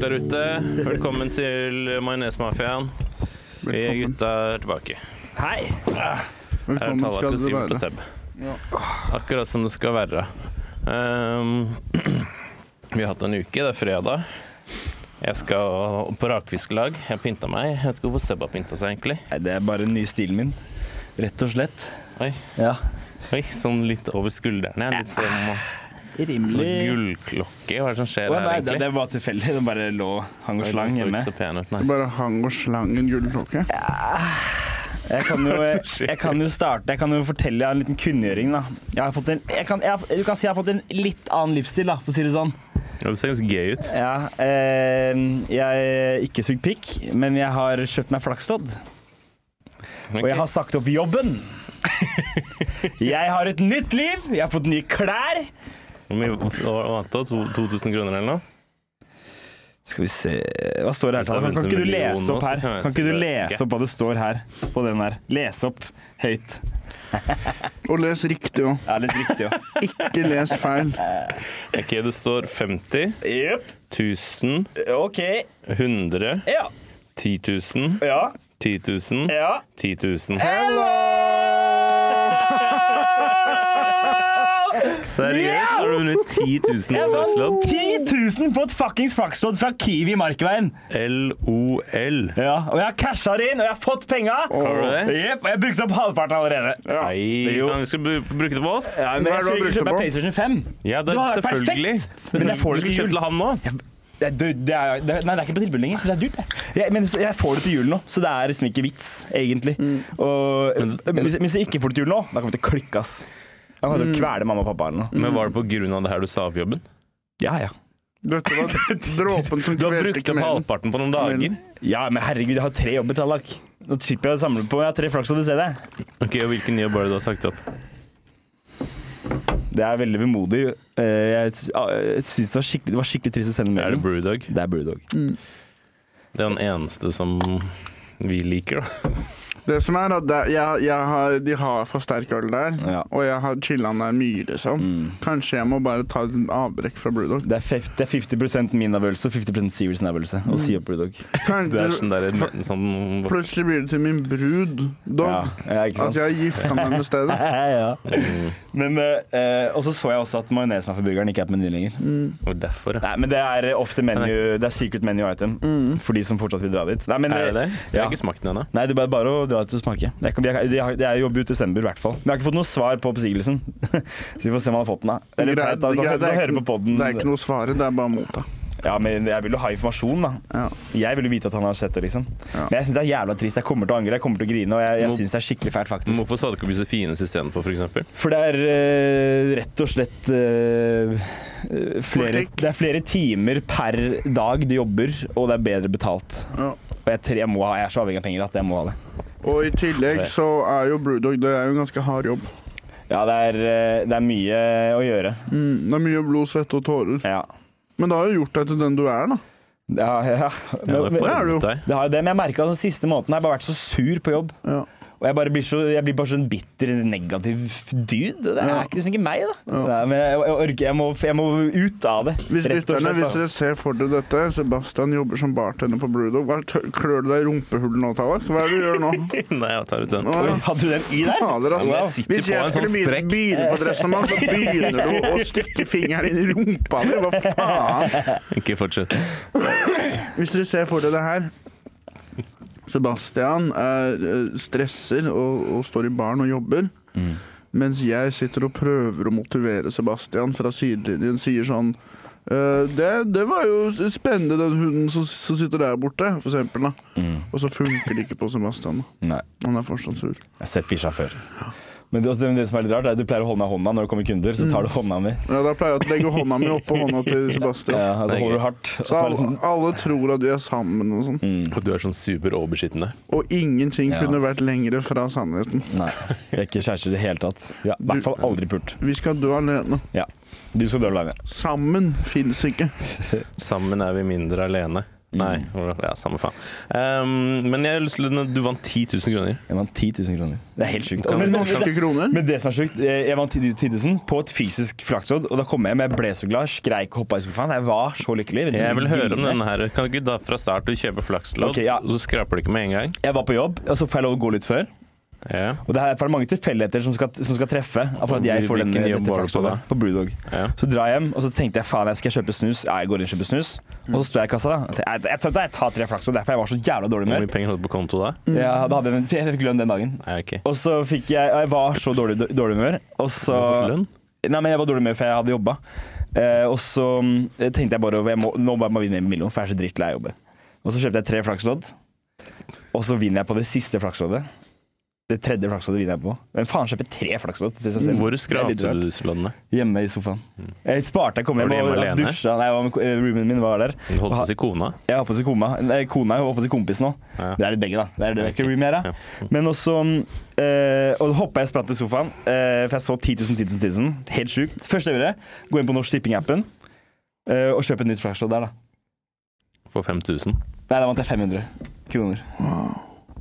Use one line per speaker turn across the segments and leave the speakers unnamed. der ute. Velkommen til Majonesmafiaen. Vi
Velkommen.
gutta er tilbake.
Hei!
Her er
Velkommen sånn skal dere
Tallak og Simen og
være.
Seb. Akkurat som det skal være. Ehm, vi har hatt en uke. Det er fredag. Jeg skal på rakfisklag. Jeg har pynta meg. Jeg vet ikke hvorfor Seb har pynta seg, egentlig.
Nei, det er bare den nye stilen min. Rett og slett.
Oi,
Ja.
oi sånn litt over skuldrene. Jeg er Litt som noe
Rimelig
gullklokke. Hva er det som skjer
Å,
her,
nei, det, det eh.
egentlig?
var tilfeldig. Den bare lå hang og slang
Den
hjemme.
så ikke så pen ut,
Det
nei.
bare hang og slang en gullklokke.
Jeg kan jo, eh, jeg kan jo starte Jeg kan jo fortelle jeg har en liten kunngjøring, da. Jeg har fått en, jeg kan, jeg, har- du kan si jeg har fått en litt annen livsstil, da, for å si det sånn.
Det ser ganske gøy ut.
Ja, eh, jeg har ikke sugd pikk, men jeg har kjøpt meg flakslodd. Og jeg har sagt opp jobben. Jeg har et nytt liv, jeg har fått nye klær.
Hvor mye vant du? To- 2000 kroner eller noe?
Skal vi se Hva står det her?
Hvis det er
Tara? Kan ikke
50
du lese
millioner
opp
nå,
her?
så kan jeg
Kan ikke
si
du
det
lese
ikke.
opp hva det står her på den der? Lese opp høyt.
Og les riktig òg.
Det er litt riktig, jo.
Ikke les feil.
Ok, det står 50,
Jepp.
1000,
OK.
100,
Ja.
10 000,
Ja.
10 000,
Ja.
10 000. Seriøst, har du vunnet 10 000 i Dagsland?
10 000 på et fuckings flakslodd fra Kiwi i Markveien.
LOL.
Ja, Og jeg har casha det inn, og jeg har fått penga.
Har du det?
Jepp. Og jeg brukte opp halvparten allerede.
Nei,
Jo.
faen, vi skal bru- bruke det på oss.
Ja, men
Hva er det du
jeg
har
skulle ikke
brukt det
kjøpe
på?
meg PlayStation 5.
Ja, det
Du
er
har-
selvfølgelig.
perfekt. Men jeg får
du
det til
skal
jul.
kjøpe til han nå.
Det er, du- det er, det, nei, det er ikke på tilbud lenger. Det er dyrt. det. Jeg, men jeg får det til jul nå, så det er liksom ikke vits, egentlig.
Mm.
Og, eh, hvis, hvis jeg ikke får det til jul nå, da kommer jeg til å klikke, ass. Jeg kommer
Mm.
til å kvele mamma og pappa eller noe.
Men var det på grunn av det her du sa opp jobben?
Ja, ja.
Dette var dråpen som
Du har
kvelte
brukt opp
kamelen.
halvparten på noen dager.
Ja, men herregud, jeg har tre jobber, Tallak. Nå slipper jeg å samle på Jeg har tre flaks, og du ser det.
Ok, og Hvilken jobb var det du har sagt opp?
Det er veldig vemodig. Eh, Jeg, sy- ah, jeg syns det, var skikkelig- det var skikkelig trist å sende
Er det
melding.
Brewdog?
Det er Brewdog.
Mm.
Det er den eneste som vi liker, da.
Det som er at det- jeg, jeg har, de har for sterk øl der,
Ja.
og jeg har chilla der mye, liksom.
Mm.
Kanskje jeg må bare ta et avbrekk fra Blue Dog.
Det er fef- det er 50 min avgjørelse og 50 Sivertsen avgjørelse
Mm.
å si opp Brewdog.
Kan-
Det er sånn der, en sånn
Plutselig blir det til min brud
Ja,
dog
ja, ikke sant?
at jeg har gifta meg med stedet.
ja. Men, eh, eh, og så så jeg også at majonesmafiaburgeren ikke er på meny lenger.
Mm.
Og derfor, ja.
Nei, men det er off the menu, det er secret menu item
Mm.
for de som fortsatt vil dra dit. Nei, men, eh,
Er det det? Jeg
Ja.
har ikke smakt den ennå.
Nei, det er bare, bare å dra ut og smake. Jeg, kan, jeg, jeg, jeg jobber ut desember i hvert fall. Men jeg har ikke fått noe svar på oppsigelsen. så vi får se om han har fått den, da. Eller
Greit,
flaut, da. Hvis
greit,
han-
det
hvis han
er
hører
ikke-
på podden.
Det er ikke noe svaret, det er bare å motta.
Ja, men jeg vil jo ha informasjon, da.
Ja.
Jeg vil jo vite at han har sett det, liksom.
Ja.
Men jeg syns det er jævla trist. Jeg kommer til å angre, jeg kommer til å grine, og jeg, jeg
Må-
syns det er skikkelig fælt, faktisk.
Men Hvorfor sa du ikke Josefines istedenfor, f.eks.?
For det er eh, rett og slett eh, eh, flere,
Politikk.
Det er flere timer per dag du jobber, og det er bedre betalt.
Ja.
Og jeg, tre, jeg, må ha, jeg er så avhengig av penger at jeg må ha det.
Og i tillegg så er jo Blue Dog det er jo en ganske hard jobb.
Ja, det er, eh, det er mye å gjøre.
Mm, det er mye blod, svette og tårer.
Ja.
Men det har jo gjort deg til den du er, da.
ja, ja.
Ja,
Men,
er
det
men,
du jo.
formet deg.
det har jo det, men jeg merka den siste måneden har jeg bare vært så sur på jobb.
Ja.
Og jeg, bare blir så, jeg blir bare sånn bitter, negativ dude. og Det er
Ja.
ikke- liksom ikke meg, da. Nei, men jeg, jeg, orker, jeg, må, jeg må ut av det.
Hvis
rett og
lytterne,
slett,
hvis sånn,
ass.
dere ser for dere dette Sebastian jobber som bartender på Blue Dog. Hva tør- Klør du deg i rumpehullet nå, Tallak? Hva er det du gjør nå?
Nei, jeg tar ut den.
Nå
Oi, Hadde du den i der?
Fader, altså.
Ja, men jeg sitter
Hvis
på
jeg skulle
en sånn
begynne
sprekk.
begynne på et resonnement, så begynner du å stikke fingeren inn i rumpa di. Hva faen?
Ikke fortsett.
Hvis dere ser for dere det her Sebastian er, eh, stresser og, og står i baren og jobber.
Mm.
Mens jeg sitter og prøver å motivere Sebastian fra sidelinjen, sier sånn «Eh, det, det var jo spennende, den hunden som, som sitter der borte, for eksempel. Da.
Mm.
Og så funker det ikke på Sebastian. Da.
Nei.
Han er fortsatt sur.
Jeg har sett bikkja før. Men det, også, det som er litt rart, er at du pleier å holde meg i hånda når det kommer kunder. Så
Mm.
tar du hånda mi.
Ja, da pleier jeg å legge hånda mi oppå hånda til Sebastian.
Ja, altså
Det er
holder
gøy.
du hardt. Og
Så
så er det
alle,
sånn, Mm.
alle tror at vi er sammen og sånn.
Og du er sånn super overbeskyttende.
Og ingenting
Ja.
kunne vært lengre fra sannheten.
nei, vi er ikke kjærester i det hele tatt. Ja, I hvert fall aldri pult.
Vi skal dø alene.
Ja. Du skal dø alene.
Sammen fins ikke.
Sammen er vi mindre alene.
Mm.
Nei, ja, samme faen. Ehm, men jeg har lyst til å Du vant 10 000 kroner.
Jeg vant 10 000 kroner. Det er helt sjukt.
Kan-
Men, men,
kan-
Norske kroner?
men det som er sjukt, eh, jeg vant 10 000 på et fysisk flakslodd, og da kom jeg hjem, jeg ble så glad, skreik og hoppa i sofaen. Jeg var så lykkelig.
Jeg vil høre om
Dritnøyd.
denne her. Kan du ikke da fra start du kjøper flakslodd,
Ok, ja.
og så skraper du ikke med en gang?
Jeg var på jobb, og så får jeg lov å gå litt før.
Ja,
Og det her for det er mange tilfeldigheter som, skal- som skal treffe. For at jeg får den,
Hvilken jobb
dette
var du på
flaksloddet. På Brewdog.
ja.
Så drar jeg hjem, og så tenkte jeg faen, jeg skal kjøpe snus. Ja, jeg går inn og kjøper snus. Og så står jeg i kassa, da. Jeg, jeg, jeg, tar- jeg tar tre flaks, og derfor jeg var så jævla dårlig
Hvor
humør.
mye penger holdt du på konto da?
Ja, da hadde jeg, jeg fikk lønn den dagen.
Nei, ok.
Og så fikk jeg Jeg var så dårlig, dårlig humør, og så
Har du fått lønn?
Nei, men jeg var dårlig humør, for jeg hadde jobba. Eh, og så mm, tenkte jeg bare over- jeg må, Nå må jeg bare vinne en million, for jeg er så drittlei av å jobbe. Og så kjøpte jeg tre flakslodd, og så vinner jeg på det siste flaksloddet. Det tredje flaksloddet vinner jeg på. Hvem faen kjøper tre flakslådd til seg selv?
Hvor
Mm. Det er litt
skrapte
rart.
du disse loddene?
Hjemme i sofaen. Jeg sparte, jeg kom
Mm. Var
hjem
du hjemme
og
alene?
dusja. Nei, jeg var med, ko- eh, roomien min var der.
Du holdt på å si kona?
Jeg har på seg koma. Nei, kona er jo på seg kompis nå.
Ja.
Det er litt begge, da. Det er det er ikke
Ok.
roomie her, da.
Ja. Mm.
Men også eh, Og hoppa jeg spratt i sofaen, eh, for jeg så 10 000, 10 000, 10 000. Helt sjukt. Første jeg gjorde, gå inn på Norsk Tipping-appen eh, og kjøpe et nytt flashlodd der, da.
For 5000?
Nei, da vant jeg 500 kroner.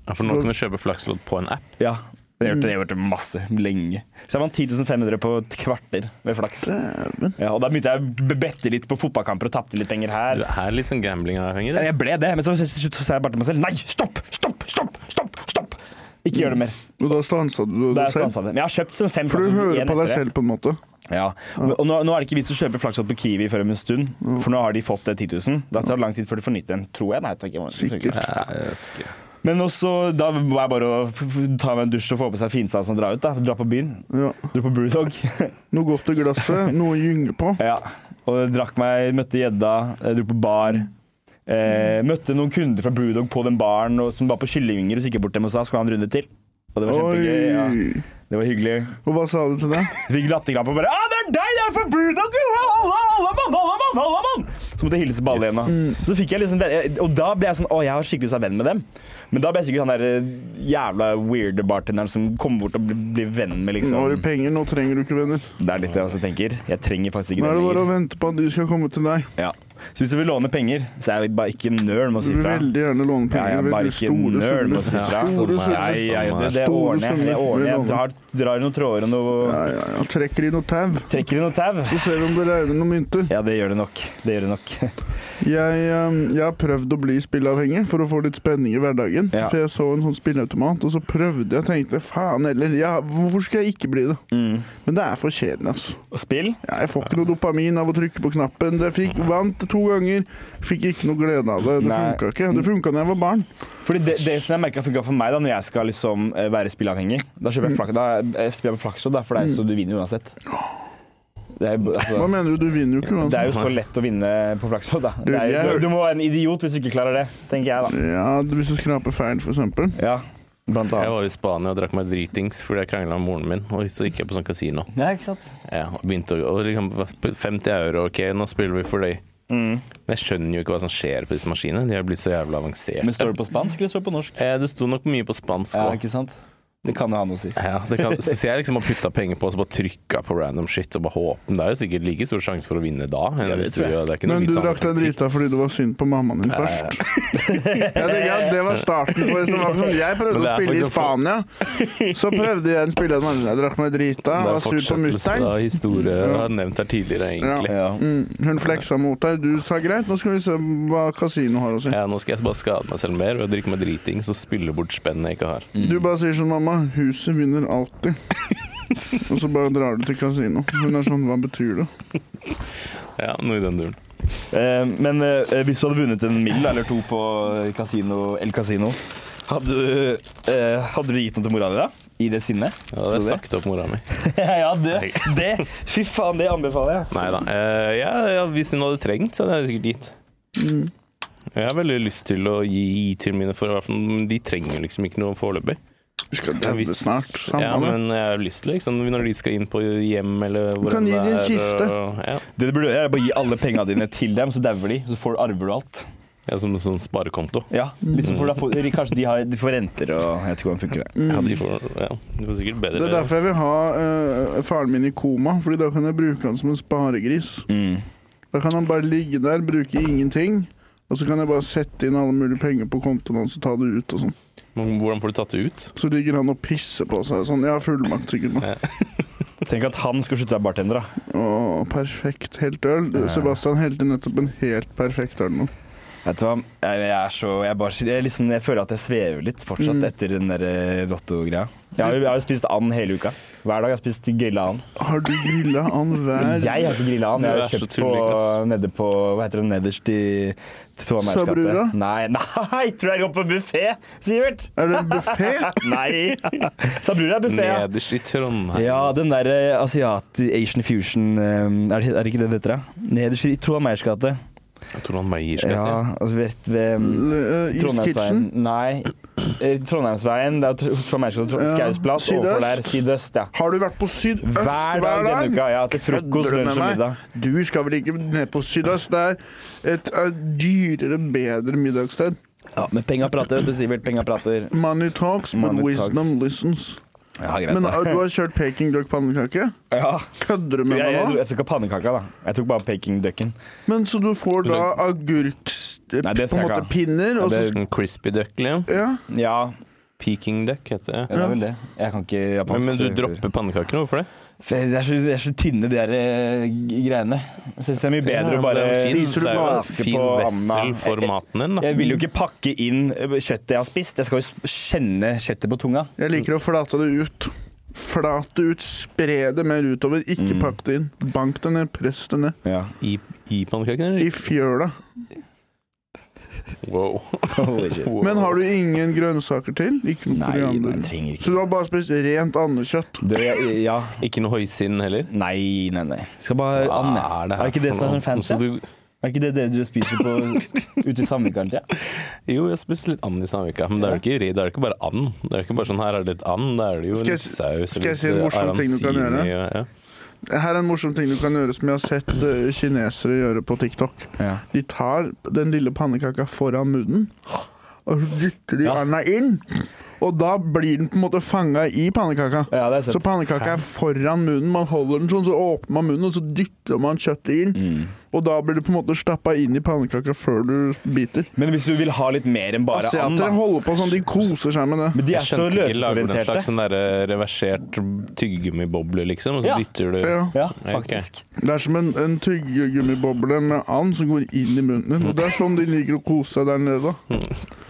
Ja, for nå kan du kjøpe flakslodd på en app.
Ja. Det gjorde jeg gjort masse. Lenge. Så jeg vant 10 500 på et kvarter med flaks.
Dæven.
Ja, og da begynte jeg å bette litt på fotballkamper og tapte litt penger her.
Du er litt sånn gambling-avhengig,
Ja,
du.
Jeg ble det, men så til slutt så sa jeg bare til meg selv Nei, stopp! Stopp! Stopp! Stopp! stopp. Ikke gjør det mer.
Og da stansa du deg
Da er jeg
Mm. selv?
stansa det. Men jeg har kjøpt sånn fem
For du
flasker,
hører
en
på deg
etter det.
selv, Mm. på en måte?
Ja. Og nå, nå er det ikke vits å kjøpe flakslodd på Kiwi før om en stund,
Mm.
for nå har de fått det 10 000. Da tar det lang tid før du får nytt en, tror jeg. Nei, takk, jeg må-
Sikkert.
Ja, jeg vet ikke.
Men også, da var jeg bare å f- f- ta meg en dusj og få på seg finsans og dra ut, da. Dra på byen.
Ja.
Dra på Brewdog.
Noe godt i glasset, noe å gynge på.
ja. Og drakk meg, møtte gjedda, eh, dro på bar. Eh, møtte noen kunder fra Brewdog på den baren og, som var på kyllingvinger og gikk bort dem og sa skulle ha en runde til. Og det var kjempegøy. Ja.
Oi!
Det var hyggelig.
Og hva sa du til deg?
Fikk latterkrampe og bare ah, 'Det er deg! Det er fra Brudok! Alle, alle mann! Alle mann! alle mann!» Så måtte jeg hilse på alle igjen. da. Så fikk jeg liksom Og da ble jeg sånn Å, jeg har skikkelig lyst til å være venn med dem. Men da ble jeg sikkert han der eh, jævla weirde bartenderen som kommer bort og blir, blir venn
Nå
med,
har
liksom.
du penger, nå trenger du ikke venner.
Det er litt det jeg også tenker. Jeg trenger
Nå
faktisk
er
ikke
det
det
bare å
lenger.
vente på at de skal komme til deg.
Ja. Så hvis du vil låne penger, så er jeg bare ikke nøl med å
Du
si
vil
fra.
veldig gjerne låne
Ja, jeg
penger.
er bare
veldig
ikke
store
nerd med å si
summer.
fra.
Store
Sånn er
Nei,
summer.
jeg, det, det
Store
ordner jeg. Jeg,
summer.
ordner. jeg
Vil låne.
drar, drar i noen tråder og noe
Ja, ja, ja. Trekker i noe tau,
Trekker i noen tau.
så ser vi om det regner noen mynter.
Ja, det gjør det nok. Det gjør det nok.
Jeg, eh, jeg har prøvd å bli spilleavhengig for å få litt spenning i hverdagen.
Ja.
For jeg så en sånn spilleautomat, og så prøvde jeg og tenkte faen heller, ja, hvorfor skal jeg ikke bli det?
Mm.
Men det er for kjedelig, altså.
Og spill?
Ja, Jeg får ikke noe dopamin av å trykke på knappen. Det fikk, vant to ganger, fikk ikke noe glede av det. Det
Nei.
funka ikke. Det funka da jeg var barn.
Fordi det, det som jeg merka funka for meg da når jeg skal liksom eh, være spilleavhengig Da
Mm.
kjøper jeg flak, da eh, spiller jeg med flaks, og da, for det er så du vinner uansett. Det er, jo-
Hva
altså,
mener du? Du vinner jo ikke
det
uansett.
er jo så lett å vinne på flakslodd, da. Det er,
jeg
jo- du, du må være en idiot hvis du ikke klarer det, tenker jeg, da.
Ja, hvis du skraper feil, for eksempel.
Ja, blant
Jeg
annet.
var i Spania og drakk meg dritings fordi jeg krangla med moren min, og så gikk jeg på sånn kasino.
Ja, ikke sant?
Ja, og begynte å og liksom, 50 euro, OK, nå spiller vi for deg.
Mm.
Men jeg skjønner jo ikke hva som skjer på disse maskinene. De har blitt så jævla avanserte.
Men står det på spansk, eller står det på norsk?
Eh, det sto nok mye på spansk
Ja,
òg.
ikke sant? Det kan jo ha noe å si.
Ja, det kan, så jeg liksom har putta penger på og så bare trykka på random shit og bare håpen. Det er jo sikkert like stor sjanse for å vinne da.
Ja, det
hvis
tror jeg.
gjør- det er ikke noe
Men
vits
du
å ha
drakk deg
taktikk.
drita fordi det var synd på mammaen din først. Jeg tenker at Det var starten på restauranten. Jeg prøvde
Men det
å
er
spille i
faktisk å
Spania. Så prøvde jeg en spiller som andre. Jeg drakk meg drita,
Det er
var sur på
fortsettelse
mutter'n.
av historie jeg har nevnt her tidligere, egentlig.
Ja.
Mm, Hun fleksa mot deg. Du sa greit, nå skal vi se hva kasino har å si.
Ja, nå skal jeg bare skade meg selv mer ved å drikke meg driting og spille bort spennene jeg ikke har.
mm.
Du bare sier sånn, mamma, huset vinner alltid. Og så bare drar du til kasino. Hun er sånn, hva betyr det?
Ja, noe i den duren.
Eh, men eh, hvis du hadde vunnet en mill eller to på eh, kasino, El Casino, hadde, du, eh, hadde du gitt noe til mora di da? I det sinnet?
Ja, det har
Tror du
jeg sagt opp mora mi.
ja, det, det Fy faen, det anbefaler jeg.
Nei da. Eh, ja, ja, hvis hun hadde trengt, så hadde jeg sikkert gitt.
Mm.
Jeg har veldig lyst til å gi til mine foreldre, men de trenger liksom ikke noe foreløpig.
Vi skal daue
Hvis-
snart.
Ja,
Samme det.
men jeg har lyst til liksom, når de skal inn på hjem eller hvor
kan gi de en kiste.
ja.
Det du burde gjøre, er bare gi alle pengene dine til dem, så dauer de, så får, arver du alt.
ja, som en sånn sparekonto.
Ja, liksom for da får, Kanskje de, har, de får renter og Jeg vet ikke hvordan det funker. det.
Ja, de får, ja, de får sikkert bedre
Mm. Det er derfor jeg vil ha eh, faren min i koma, Fordi da
Mm.
kan jeg bruke han som en sparegris. Da kan han bare ligge der, bruke ingenting, Og så kan jeg bare sette inn alle mulige penger på kontoen hans og ta det ut og sånn.
Men Hvordan får du tatt det ut?
Så ligger han og pisser på seg sånn. Jeg har fullmakt, sikkert. nå.
Tenk at han skulle slutte å være bartender, da.
Å, perfekt helt øl. Sebastian helte nettopp en helt perfekt øl nå.
Vet du hva, jeg, jeg er så jeg, bare, jeg, liksom, jeg føler at jeg svever litt
Mm.
fortsatt etter den der eh, Lotto-greia. Jeg har jo- jeg har jo spist and hele uka. Hver dag har jeg spist grilla and.
Har du grilla han
Men
hver
jeg har ikke grilla and. Jeg har
Du er
jo
så
kjøpt på,
tulling, ass.
nede på Hva heter det nederst i Tua Meyers gate.
Sabrura?
Nei, nei, tror jeg går på buffé, Sivert!
Er det en buffé?
Nei! Sabrura er buffé. Ja.
Nederst i Trondheim.
Ja, den der eh, asiat... Asian fusion eh, Er det, er det ikke det det heter? da? Nederst i Tua Meyers gate.
Jeg tror han Meyer skal hete.
Ja, altså vet ved
Mm,
Uh, East
Trondheimsveien.
Kitchen?
Nei. eh, Trondheimsveien, det er Tr- Tua Meyers gate,
Ja,
Skausplass overfor der.
sydøst.
Sydøst, ja.
Har du vært på sydøst
Hver dag denne uka, ja. Til frokost,
Kødder du med
lunsj og
meg?
middag.
Du skal vel ikke ned på sydøst? Det er et eh, dyrere, bedre middagssted.
Ja, Men penga prater, vet du, Sivert. Penga prater.
Money talks, but
Money talks.
wisdom listens.
Ja, greit.
Men
da.
eh, du har kjørt pekingduck-pannekake?
Ja.
Kødder du
Jeg,
med
jeg,
meg
dro-
nå?
jeg tok ikke pannekaka, da. Jeg tok bare pekingducken.
Men så du får da agurk...
Nei, det
på en
skal jeg
måte
ikke ha.
pinner, og så
det-
En crispy duck, liksom. Liam.
ja.
Ja,
Peking duck heter det.
det er vel det. Jeg kan ikke
Men,
japansk.
men du
så-
dropper pannekakene, hvorfor det?
Det er så, det er så tynne, de der eh, g- greiene. Jeg syns det er mye bedre
Ja,
å
men
bare
det er jo
Spiser du
fin, det er jo en
smake
fin
på
vessel
amma.
for maten din, da.
Jeg vil jo ikke pakke inn eh, kjøttet jeg har spist. Jeg skal jo s- kjenne kjøttet på tunga.
Jeg liker å flate det ut. Flate det ut, spre det mer utover. Ikke
Mm.
pakk det inn. Bank det ned, press det ned.
Ja.
I, i pannekakene?
I
eller?
fjøla.
Wow.
Holy shit.
Men har du ingen grønnsaker til? Ikke noe
Nei, nei, jeg
koriander?
trenger
Så
ikke
du har bare spist rent andekjøtt?
det, ja, ja.
Ikke noe hoisin heller?
Nei, nei, nei. Skal bare
Hva
Anne.
er det her
Er ikke det
for
som er
noe?
sånn fancy?
Så du-
Er ikke det dere dere spiser på ute i Sandvikan? Ja?
Jo, jeg spiste litt and i Sandvika, men det er jo ikke, det er jo ikke bare and. Det er jo ikke bare sånn her er det litt and, det er det jo
Skal jeg
litt
si-
saus
skal jeg si en morsom ting du kan gjøre? Her er en morsom ting du kan gjøre som jeg har sett eh, kinesere gjøre på TikTok.
Ja.
De tar den lille pannekaka foran munnen, og så dytter de
Ja.
anda inn. Og da blir den på en måte fanga i pannekaka.
ja, det er
Så
søtt.
pannekaka er foran munnen. Man holder den sånn, så åpner man munnen, og så dytter man kjøttet inn.
Mm.
Og da blir det på en måte stappa inn i pannekaka før du biter.
Men hvis du vil ha litt mer enn bare and,
Asiatere
da.
holder på sånn, de koser seg med det.
Men de
Jeg
er så
skjønte ikke lager du en slags
løsorienterte.
sånn der eh, reversert tyggegummiboble, liksom, og så
Ja.
dytter du
Ja.
Ja,
Nei, ok.
faktisk.
Det er som en, en tyggegummiboble med and som går inn i munnen din. Og Det er sånn de liker å kose seg der nede.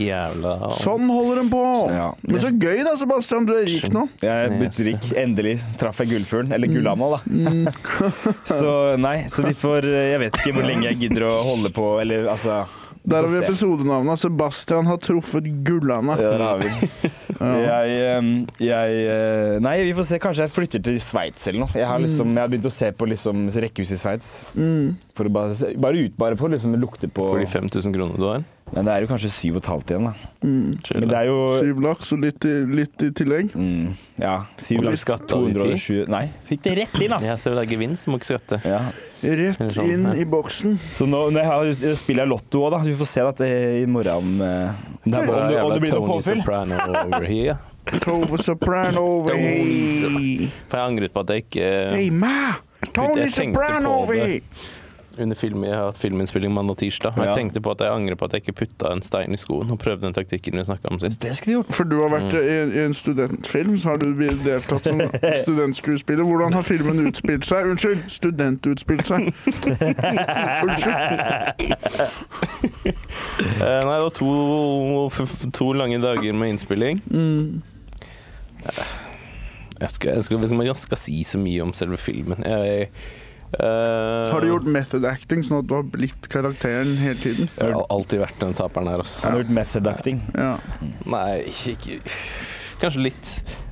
jævla
Sånn holder de på!
Ja.
Men så gøy da, Sebastian. Du er rik nå.
Jeg er
altså.
blitt rik. Endelig traff jeg gullfuglen. Eller gullanda, da. så nei, så de får eh, Jeg vet ikke hvor lenge jeg gidder å holde på, eller altså vi
Der har
får
vi
se.
episodenavnet. Sebastian har truffet Gullanda.
Ja, der har vi den. Jeg, ehm, jeg eh, Nei, vi får se. Kanskje jeg flytter til Sveits eller noe. Jeg har, liksom, jeg har begynt å se på liksom, rekkehus i Sveits.
Mm.
For å bare, se- bare ut bare for å liksom, lukte på
For de 5000 kronene du har?
Nei, det er jo kanskje syv og et halvt igjen, da.
Mm.
Chill,
Men det
da.
er jo
Syv laks og litt i, litt i tillegg.
mm, Ja.
Og
Syv
du
laks.
skatta de
207 Nei, fikk det rett inn,
Jeg
ass!
ser jo det er gevinst, du må ikke skatte.
Ja.
Rett
Sånn,
inn
ja.
i boksen.
Så nå når jeg har, jeg spiller jeg lotto òg, da. Så vi får se da, til i morgen eh, om det, er, om det, om det blir noe
Tony
påfyll.
Soprano over here.
Tove Soprano over here.
For jeg angret på at jeg ikke eh,
Hey, ma! Tony
Jeg tenkte på
Soprano over
det.
here!
Under film, Jeg har hatt filminnspilling mandag og tirsdag. og
Ja.
Jeg tenkte på at jeg angrer på at jeg ikke putta en stein i skoen og prøvde den taktikken vi snakka om sist.
Det skulle du gjort.
For du har vært i, i en studentfilm, så har du deltatt som studentskuespiller. Hvordan har filmen utspilt seg? Unnskyld, studentutspilt seg. Unnskyld.
Eh, nei, det var to, f- to lange dager med innspilling.
Mm.
Jeg skal, jeg skal, jeg skal, jeg skal si så mye om selve filmen. Jeg, eh,
Har du gjort method acting, sånn at du har blitt karakteren hele tiden?
Jeg har alltid vært den taperen her, altså.
Han har gjort method acting.
Ja.
Nei, ikke Kanskje litt.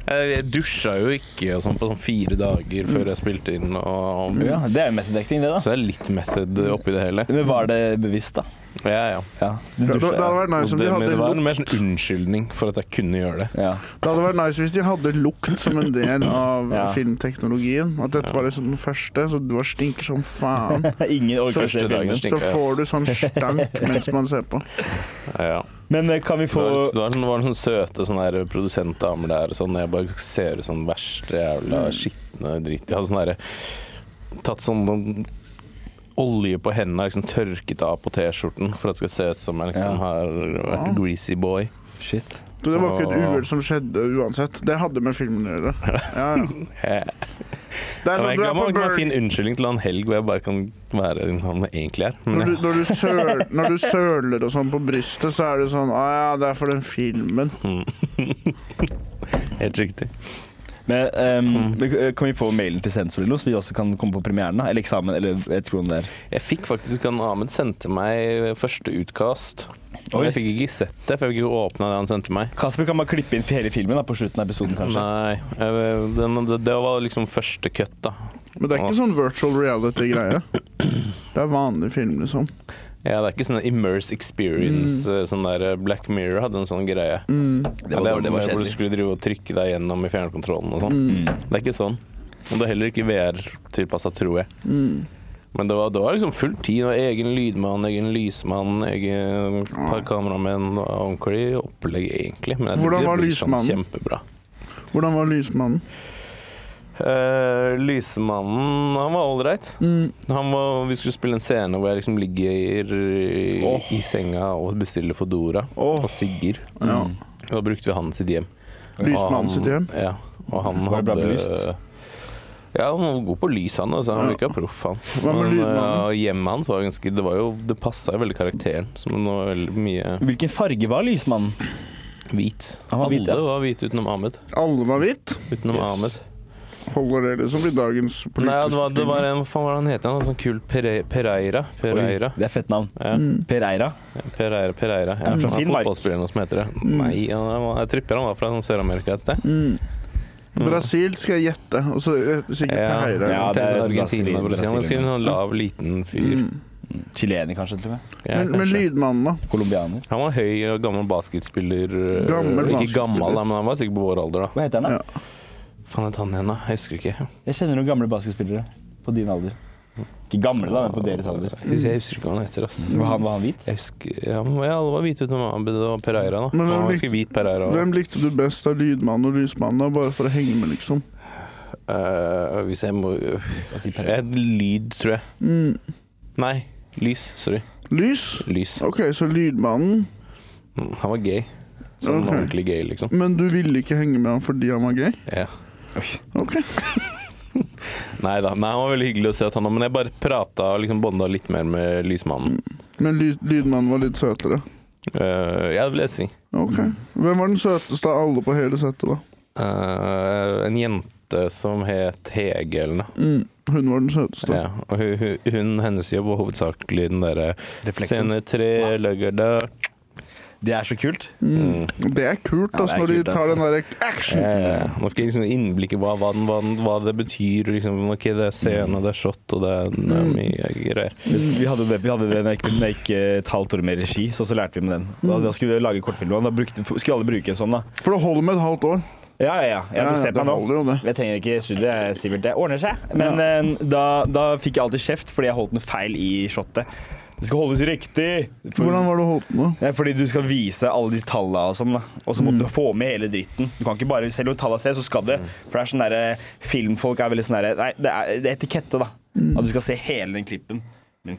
Jeg dusja jo ikke og sånn på sånn fire dager før jeg spilte inn. Og,
Ja, det er jo method acting, det, da.
Så det er litt method oppi det hele.
Men var det bevisst, da?
Ja, ja.
Ja. Du
Det, det
dusja,
hadde
ja.
vært nice
Og
om de
det, men
hadde
det var
lukt.
en mer sånn unnskyldning for at jeg kunne gjøre det.
ja.
Det hadde vært nice hvis de hadde lukt som en del av
Ja.
filmteknologien. At dette var liksom den første, så du var stinker som faen.
Ingen orker å se
Første dagen
filmen.
Så
stinker jeg.
får du sånn stank mens man ser på.
Ja.
Men eh, kan vi
Det
få
var, det var, sånn- det var noen sånne søte sånne der produsentdamer der og sånn. Jeg bare ser ut som den
Mm.
verste jævla skitne dritt. De hadde sånn derre Tatt sånn noen olje på hendene, liksom tørket av på T-skjorten for at det skal se ut som jeg liksom
Ja.
har vært greasy boy.
Shit.
Så det var ikke et
Åh.
uhell som skjedde uansett. Det hadde med filmen å gjøre. Ja, ja.
Eh,
Det er
Jeg
sånn, du
vet ikke
er
om
på
jeg kan
Burger
finne unnskyldning til å ha en helg hvor jeg bare kan være den han jeg egentlig er. Men
Når du,
jeg,
når, du søl, når du søler og sånn på brystet, så er det sånn Å ja, det er for den filmen.
Mm. helt riktig.
Men ehm,
Mm.
Kan vi få mailen til sensor eller noe, så vi også kan komme på premieren? da? Eller eksamen, eller jeg vet ikke hvordan det er.
Jeg fikk faktisk han Ahmed sendte meg første utkast. Og
Oi.
jeg fikk ikke sett det, for jeg fikk ikke åpna det han sendte meg.
Kasper kan bare klippe inn hele filmen da, på slutten av episoden, kanskje.
Nei, jeg, den, det, det var liksom første cut, da.
Men det er ikke sånn virtual reality-greie. Det er vanlig film, liksom.
Ja, det er ikke sånn immerse experience.
Mm.
eh, Sånn der eh, Black Mirror hadde en sånn greie.
Det var
Ja,
dårlig, det var
Hvor du
kjedelig.
skulle drive og trykke deg gjennom i fjernkontrollen og
Mm.
sånn.
Mm.
Det er ikke sånn. Og det er heller ikke VR-tilpassa, tror jeg.
mm.
Men det var, det var liksom full tid. Og egen lydmann, egen lysmann, egen par kameramenn. Det var ordentlig opplegg, egentlig. Men jeg tror
Hvordan
ikke
var
det blir sånn
lysmannen?
kjempebra.
Hvordan var lysmannen?
Eh, lysmannen, han var ålreit.
Mm.
Han var, vi skulle spille en scene hvor jeg liksom ligger i,
Åh.
i senga og bestiller Foodora
Åh.
og sigger.
Ja.
Og Da brukte vi han sitt hjem. Og han-
Lysmannen sitt hjem.
Ja, og han
Var det bra
hadde
belyst?
Ja, han var god på lys, han. Altså. Han
Ja.
virka proff, han.
Hva med
Men,
lydmannen?
eh, hjemmet hans var ganske Det, var jo- det passa jo veldig karakteren. Som det var veldig mye
Hvilken farge var lysmannen?
hvit.
Han var
Alle
hvit, ja.
var hvite utenom Ahmed.
Alle var hvitt.
Utenom
Yes.
Ahmed.
Holder det liksom i dagens politiske
Nei, det var, det var
film?
en Hva faen var det han het? Han hadde sånn kul Pere, Pereira. Pereira.
Oi, Det er fett navn.
Ja.
Pereira.
Pereira, Pereira. Ja,
Er han fra
han er
Finnmark?
fotballspilleren som heter det.
Mm.
Nei, han var, jeg tripper han var fra sånn Sør-Amerika et sted.
Brasil skal jeg gjette, og så eh, sikkert
Ja,
Pereira.
ja,
det
det
er
er Argentina.
Brasil-
Brasil. Han er sikkert en lav, liten fyr.
Mm.
Chilener, kanskje. til og med.
Ja,
Men, men
kanskje.
lydmannen, da?
Colombianer.
han var høy og gammel basketspiller. øh,
Gammel
ikke gammel,
basketspiller.
da, men han var sikkert på vår alder, da.
Hva heter han, da?
Ja.
Faen het han igjen, da? Jeg husker ikke.
Jeg kjenner noen gamle basketspillere på din alder. Ikke gamle, da, men på deres alder. Mm.
Jeg husker ikke hva han heter, ass.
Var han, var han hvit?
Jeg husker, ja, men ja, det var hvit utenom Abid og Pereira, da.
Men hvem
Han
likte-
var ganske hvit Pereira. også.
Hvem likte du best av lydmannen og lysmannen, da? bare for å henge med, liksom?
Eh, hvis jeg må
Hva sier Pereira?
Et lyd, tror jeg.
Mm.
Nei, lys. Sorry.
Lys?
Lys.
OK, så lydmannen.
Mm, Han var gay. Sånn
Ok.
ordentlig gay, liksom.
Men du ville ikke henge med han fordi han var gay?
Ja.
OK.
Nei da. Nei, han var veldig hyggelig å se at han Men jeg bare prata og liksom bonda litt mer med lysmannen.
Men ly lydmannen var litt søtere.
Eh, ja, det vil jeg si.
OK.
Mm.
Hvem var den søteste av alle på hele settet, da?
Eh, en jente som het Hege eller noe.
Mm. Hun var den søteste.
Ja, og hun, hun, hun hennes jobb var hovedsakelig den eh, derre
Reflekten.
Scene tre, lørdag
Det er så kult.
Mm. Det er kult,
Ja,
altså,
det
når de
er kult,
tar
ass.
den derre action.
Eh, Nå fikk jeg liksom innblikk i hva, hva, den, hva, den, hva det betyr. Liksom. Ok, det er scene, det er shot, og det er, det er mye greier.
Vi sk- Vi hadde det, vi hadde det når jeg gikk- når jeg gikk eh, et halvt år med regi, så, så lærte vi med den. Da, da skulle vi lage kortfilm, og da brukte, skulle alle bruke en sånn, da.
For det holder med et halvt år.
Ja, ja, ja. Jeg
Ja,
vil se
det
på nå.
holder jo det.
Jeg trenger ikke studie, Sivert. Det ordner seg. Men eh, da, da fikk jeg alltid kjeft fordi jeg holdt den feil i shotet. Det skal holdes riktig!
Hvordan var det du holdt med?
Nei, fordi du skal vise alle de tallene og sånn, da. Og så må
Mm.
du få med hele dritten. Du kan ikke bare Selv om tallene ser, så skal det. For det er sånn derre Filmfolk er veldig sånn derre Nei, det er, det er etikette, da.
Mm.
At du skal se hele den klippen. Men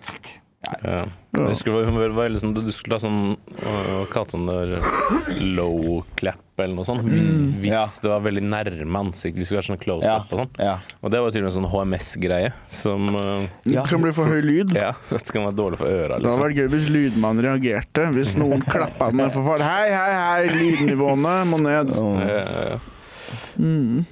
Nei.
Ja. Jeg husker det var- hun var- var veldig sånn Du du skulle ha sånn Hva kalte han det? Low clap eller noe sånt. Hvis, hvis
Ja.
det var veldig nærme ansiktet. Vi skulle ha sånn close
Ja.
up og sånn.
ja.
Og det var tydeligvis en sånn HMS-greie som eh,
Det kan bli for høy lyd.
Ja, det kan være dårlig for øra,
Det hadde
liksom.
vært gøy hvis lydmannen reagerte. Hvis noen klappa med for fart. Hei, hei, hei, lydnivåene må ned.
Ja, ja, ja. Eh,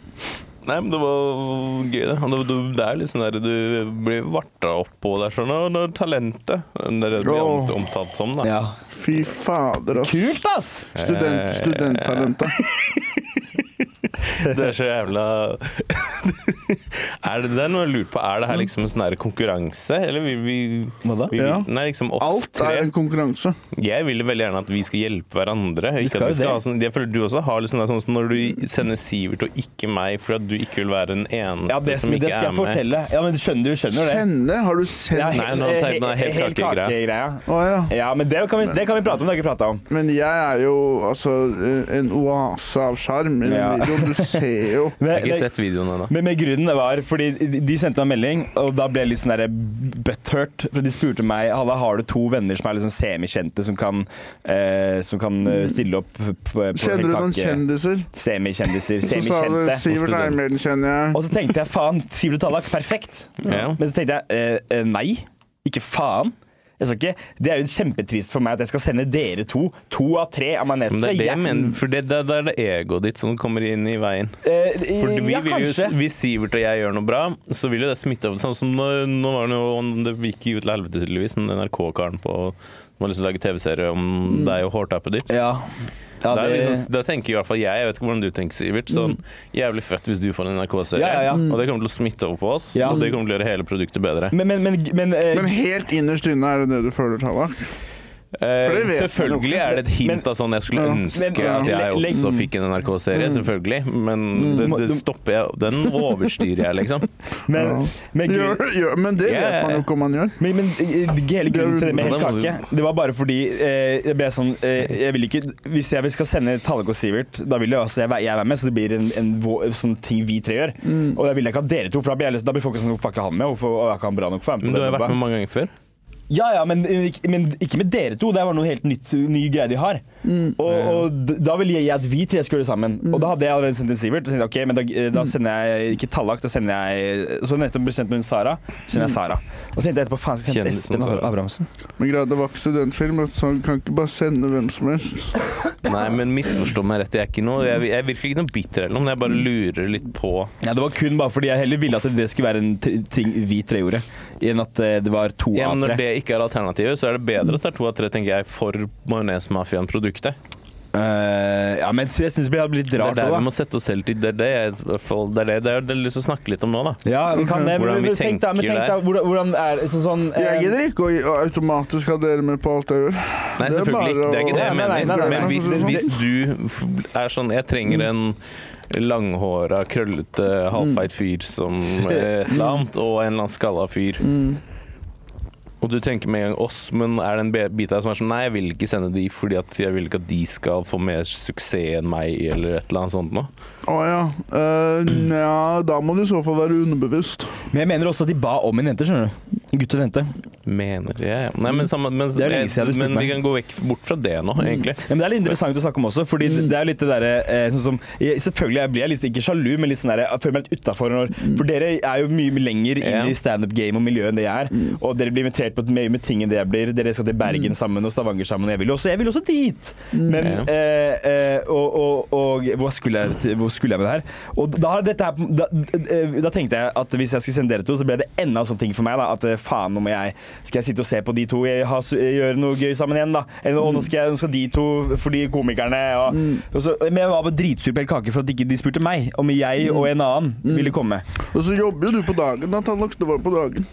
Nei, men det var gøy, det. Og det- du- Det er litt sånn der du blir varta opp på. Det er sånn «Å, det er talentet. Det er det det blir
Åh.
omt- omtalt som, da.
ja.
Fy fader, ass.
Kult, ass!
Student, studenttalentet.
Det er så jævla er det, det er noe jeg lurer på. Er det her liksom en sånn her konkurranse, eller vil vi,
Mm. Hva da?
vi
Ja.
Nei, liksom oss
Alt
tre.
er en konkurranse.
Jeg vil veldig gjerne at vi skal hjelpe hverandre. Ikke
skal
at vi
jo det.
skal ha sånn, jeg føler du også har litt sånn der sånn som når du sender Sivert og ikke meg fordi at du ikke vil være den eneste
Ja, det,
som
det
ikke
skal jeg
er med.
fortelle. Ja, men du skjønner, du skjønner det.
Kjenne? Har du sett
Ja,
Å
Nei, nå har jeg tenkt meg helt kakegreia.
kakegreia.
ja.
Ja, men det kan, vi, det kan vi prate om. Det har vi ikke prata om.
Men jeg er jo altså en oase av sjarm i den
Ja.
videoen. Du ser jo.
Jeg har ikke sett videoen ennå.
Men med Gry grunnen var fordi de- de sendte meg en melding, og da ble jeg litt sånn der butthurt. For de spurte meg Halla, har du to venner som er liksom semikjente, som kan, eh, som kan eh, stille opp på, på
Kjenner du noen kjendiser?
Semikjendiser.
Så sa du
Semikjente.
Sivert
student.
Eimerden kjenner jeg.
Og så tenkte jeg faen, Sivert Tallak, perfekt.
Ja.
Men så tenkte jeg eh, eh, nei, ikke faen. Jeg skal ikke, det er jo kjempetrist for meg at jeg skal sende dere to, to av tre av meg
Men det er det jeg mener, for det, det, det er det egoet ditt som kommer inn i veien. For vi
Eh, ja,
vil jo,
kanskje.
hvis Sivert og jeg gjør noe bra, så vil jo det smitte over. Sånn som nå, nå var det jo Det gikk jo til helvete, tydeligvis, den NRK-karen på som har lyst til å lage TV-serie om deg og hårtappet ditt.
Ja. Mm. Ja,
Da
det, Mm.
er liksom, da tenker i hvert fall jeg, jeg vet ikke hvordan du tenker, Sivert, sånn jævlig fett hvis du får en NRK-serie.
Ja, ja, ja.
Og det kommer til å smitte over på oss,
Ja.
og det kommer til å gjøre hele produktet bedre.
men, men, men, men, eh,
Men helt innerst inne er det det du føler, Tallak?
eh,
det vet
Selvfølgelig
jeg nok.
er det et hint
Men-
av sånn jeg skulle
Ja.
ønske
Men- Mm.
at jeg
Legg-
også fikk en NRK-serie, selvfølgelig. Men det, det stopper jeg Den overstyrer jeg, liksom.
men,
Ja.
men,
Gjør,
gru-
gjør, men det vet
Yeah.
man jo ikke om man gjør.
men, men eh, hele grunnen til det med
Ja,
hel
da må du-
kake, det var bare fordi eh, jeg ble sånn eh, jeg vil ikke, Hvis jeg skal sende Tallak og Sivert, da vil jeg også jeg, væ- jeg være med, så det blir en, en vå- sånn ting vi tre gjør.
Mm.
Og jeg vil ikke at dere to, for da blir, jeg, liksom- da blir folk sånn Hvorfor er ikke han med? Hvorfor er ikke han bra nok for å være med?
Men
på
du har
det
jo vært
jobba?»
med mange ganger før.
Ja, ja, men, ikke- men ikke med dere to. Det var noe helt nytt, ny greie de har. Og, og d- da ville jeg at vi tre skulle gjøre det sammen. Og da hadde jeg allerede sendt til Sivert. Og tenkte, jeg, ok, men da, eh, da sender jeg ikke Tallak, da sender jeg eh, Så nettopp ble kjent med hun Sara. Så sender jeg Sara. Og så tenkte jeg etterpå faen, skal jeg sende til
Kjendisen
Espen
Sara.
Abrahamsen?
Men greit, det var ikke studentfilm, så han kan ikke bare sende hvem som helst.
Nei, men misforstå meg rett. Jeg er ikke noe Jeg, jeg er virkelig ikke noe bitter eller noe, men jeg bare lurer litt på
Ja, det var kun bare fordi jeg heller ville at det skulle være en t- ting vi tre gjorde, enn at eh, det var to
ja,
av
men Når
tre.
det ikke er alternativer, så er det bedre at det er to av tre, tenker jeg, for Majones-mafiaen-produktet.
Eh, ja, men jeg syns det hadde blitt
Det er
rart
der vi
òg, da.
må sette oss selv til. Det er det jeg i hvert fall- det er det det er det jeg har lyst til å snakke litt om nå, da.
Ja, vi kan det.
Mm. Hvordan
Men,
vi
men tenk da, men
tenker
tenk da hvordan, hvordan er sånn sånn
Jeg
eh,
gidder ikke å å automatisk ha dere med på alt jeg gjør.
Nei,
Det er
selvfølgelig ikke.
bare
Det er ikke det
å-
jeg
Nei,
mener.
nei, nei,
nei.
nei,
Men hvis, hvis du f- er sånn Jeg trenger en langhåra, krøllete, halvfeit fyr som eh, et eller annet, og en eller annen skalla fyr. Og du tenker med en gang oss, men er det en be- bit av deg som er sånn Nei, jeg vil ikke sende de fordi at jeg vil ikke at de skal få mer suksess enn meg, eller et eller annet sånt noe.
Å ja. Eh, nja, da må du i så fall være underbevisst.
Men jeg mener også at de ba om en jente, skjønner du. En gutt og en jente.
Mener jeg. Nei, men, samme, men,
Det er lenge siden jeg hadde spurt
men vi
meg.
kan gå vekk, bort fra det nå, egentlig.
Ja, men det er litt interessant å snakke om også, fordi det er jo litt det derre eh, sånn som jeg, Selvfølgelig jeg blir jeg litt, ikke sjalu, men litt sånn der, jeg føler meg litt utafor når For dere er jo mye lenger
Ja.
inn i standup-game og miljøet enn det jeg er. Og dere blir invitert på mye med ting enn det jeg blir. Dere skal til Bergen sammen og Stavanger sammen. og Jeg vil jo også, jeg vil også dit! Men
Mm. Ja.
eh, eh, og, og, og hvor skulle, jeg, til- hvor skulle jeg med det her? Og da, har dette her da, eh, da tenkte jeg at hvis jeg skulle sende dere to, så ble det enda en sånn ting for meg. da At eh, faen, nå må jeg Skal jeg sitte og se på de to jeg har, gjøre noe gøy sammen igjen, da? Eller, og nå skal, jeg, nå skal de to for de komikerne og,
Mm.
og så, Men jeg var bare dritsur på hele kake for at ikke de spurte meg om jeg og en annen ville komme.
Og så jobber jo du på dagen, da, Tallak. Det var på dagen.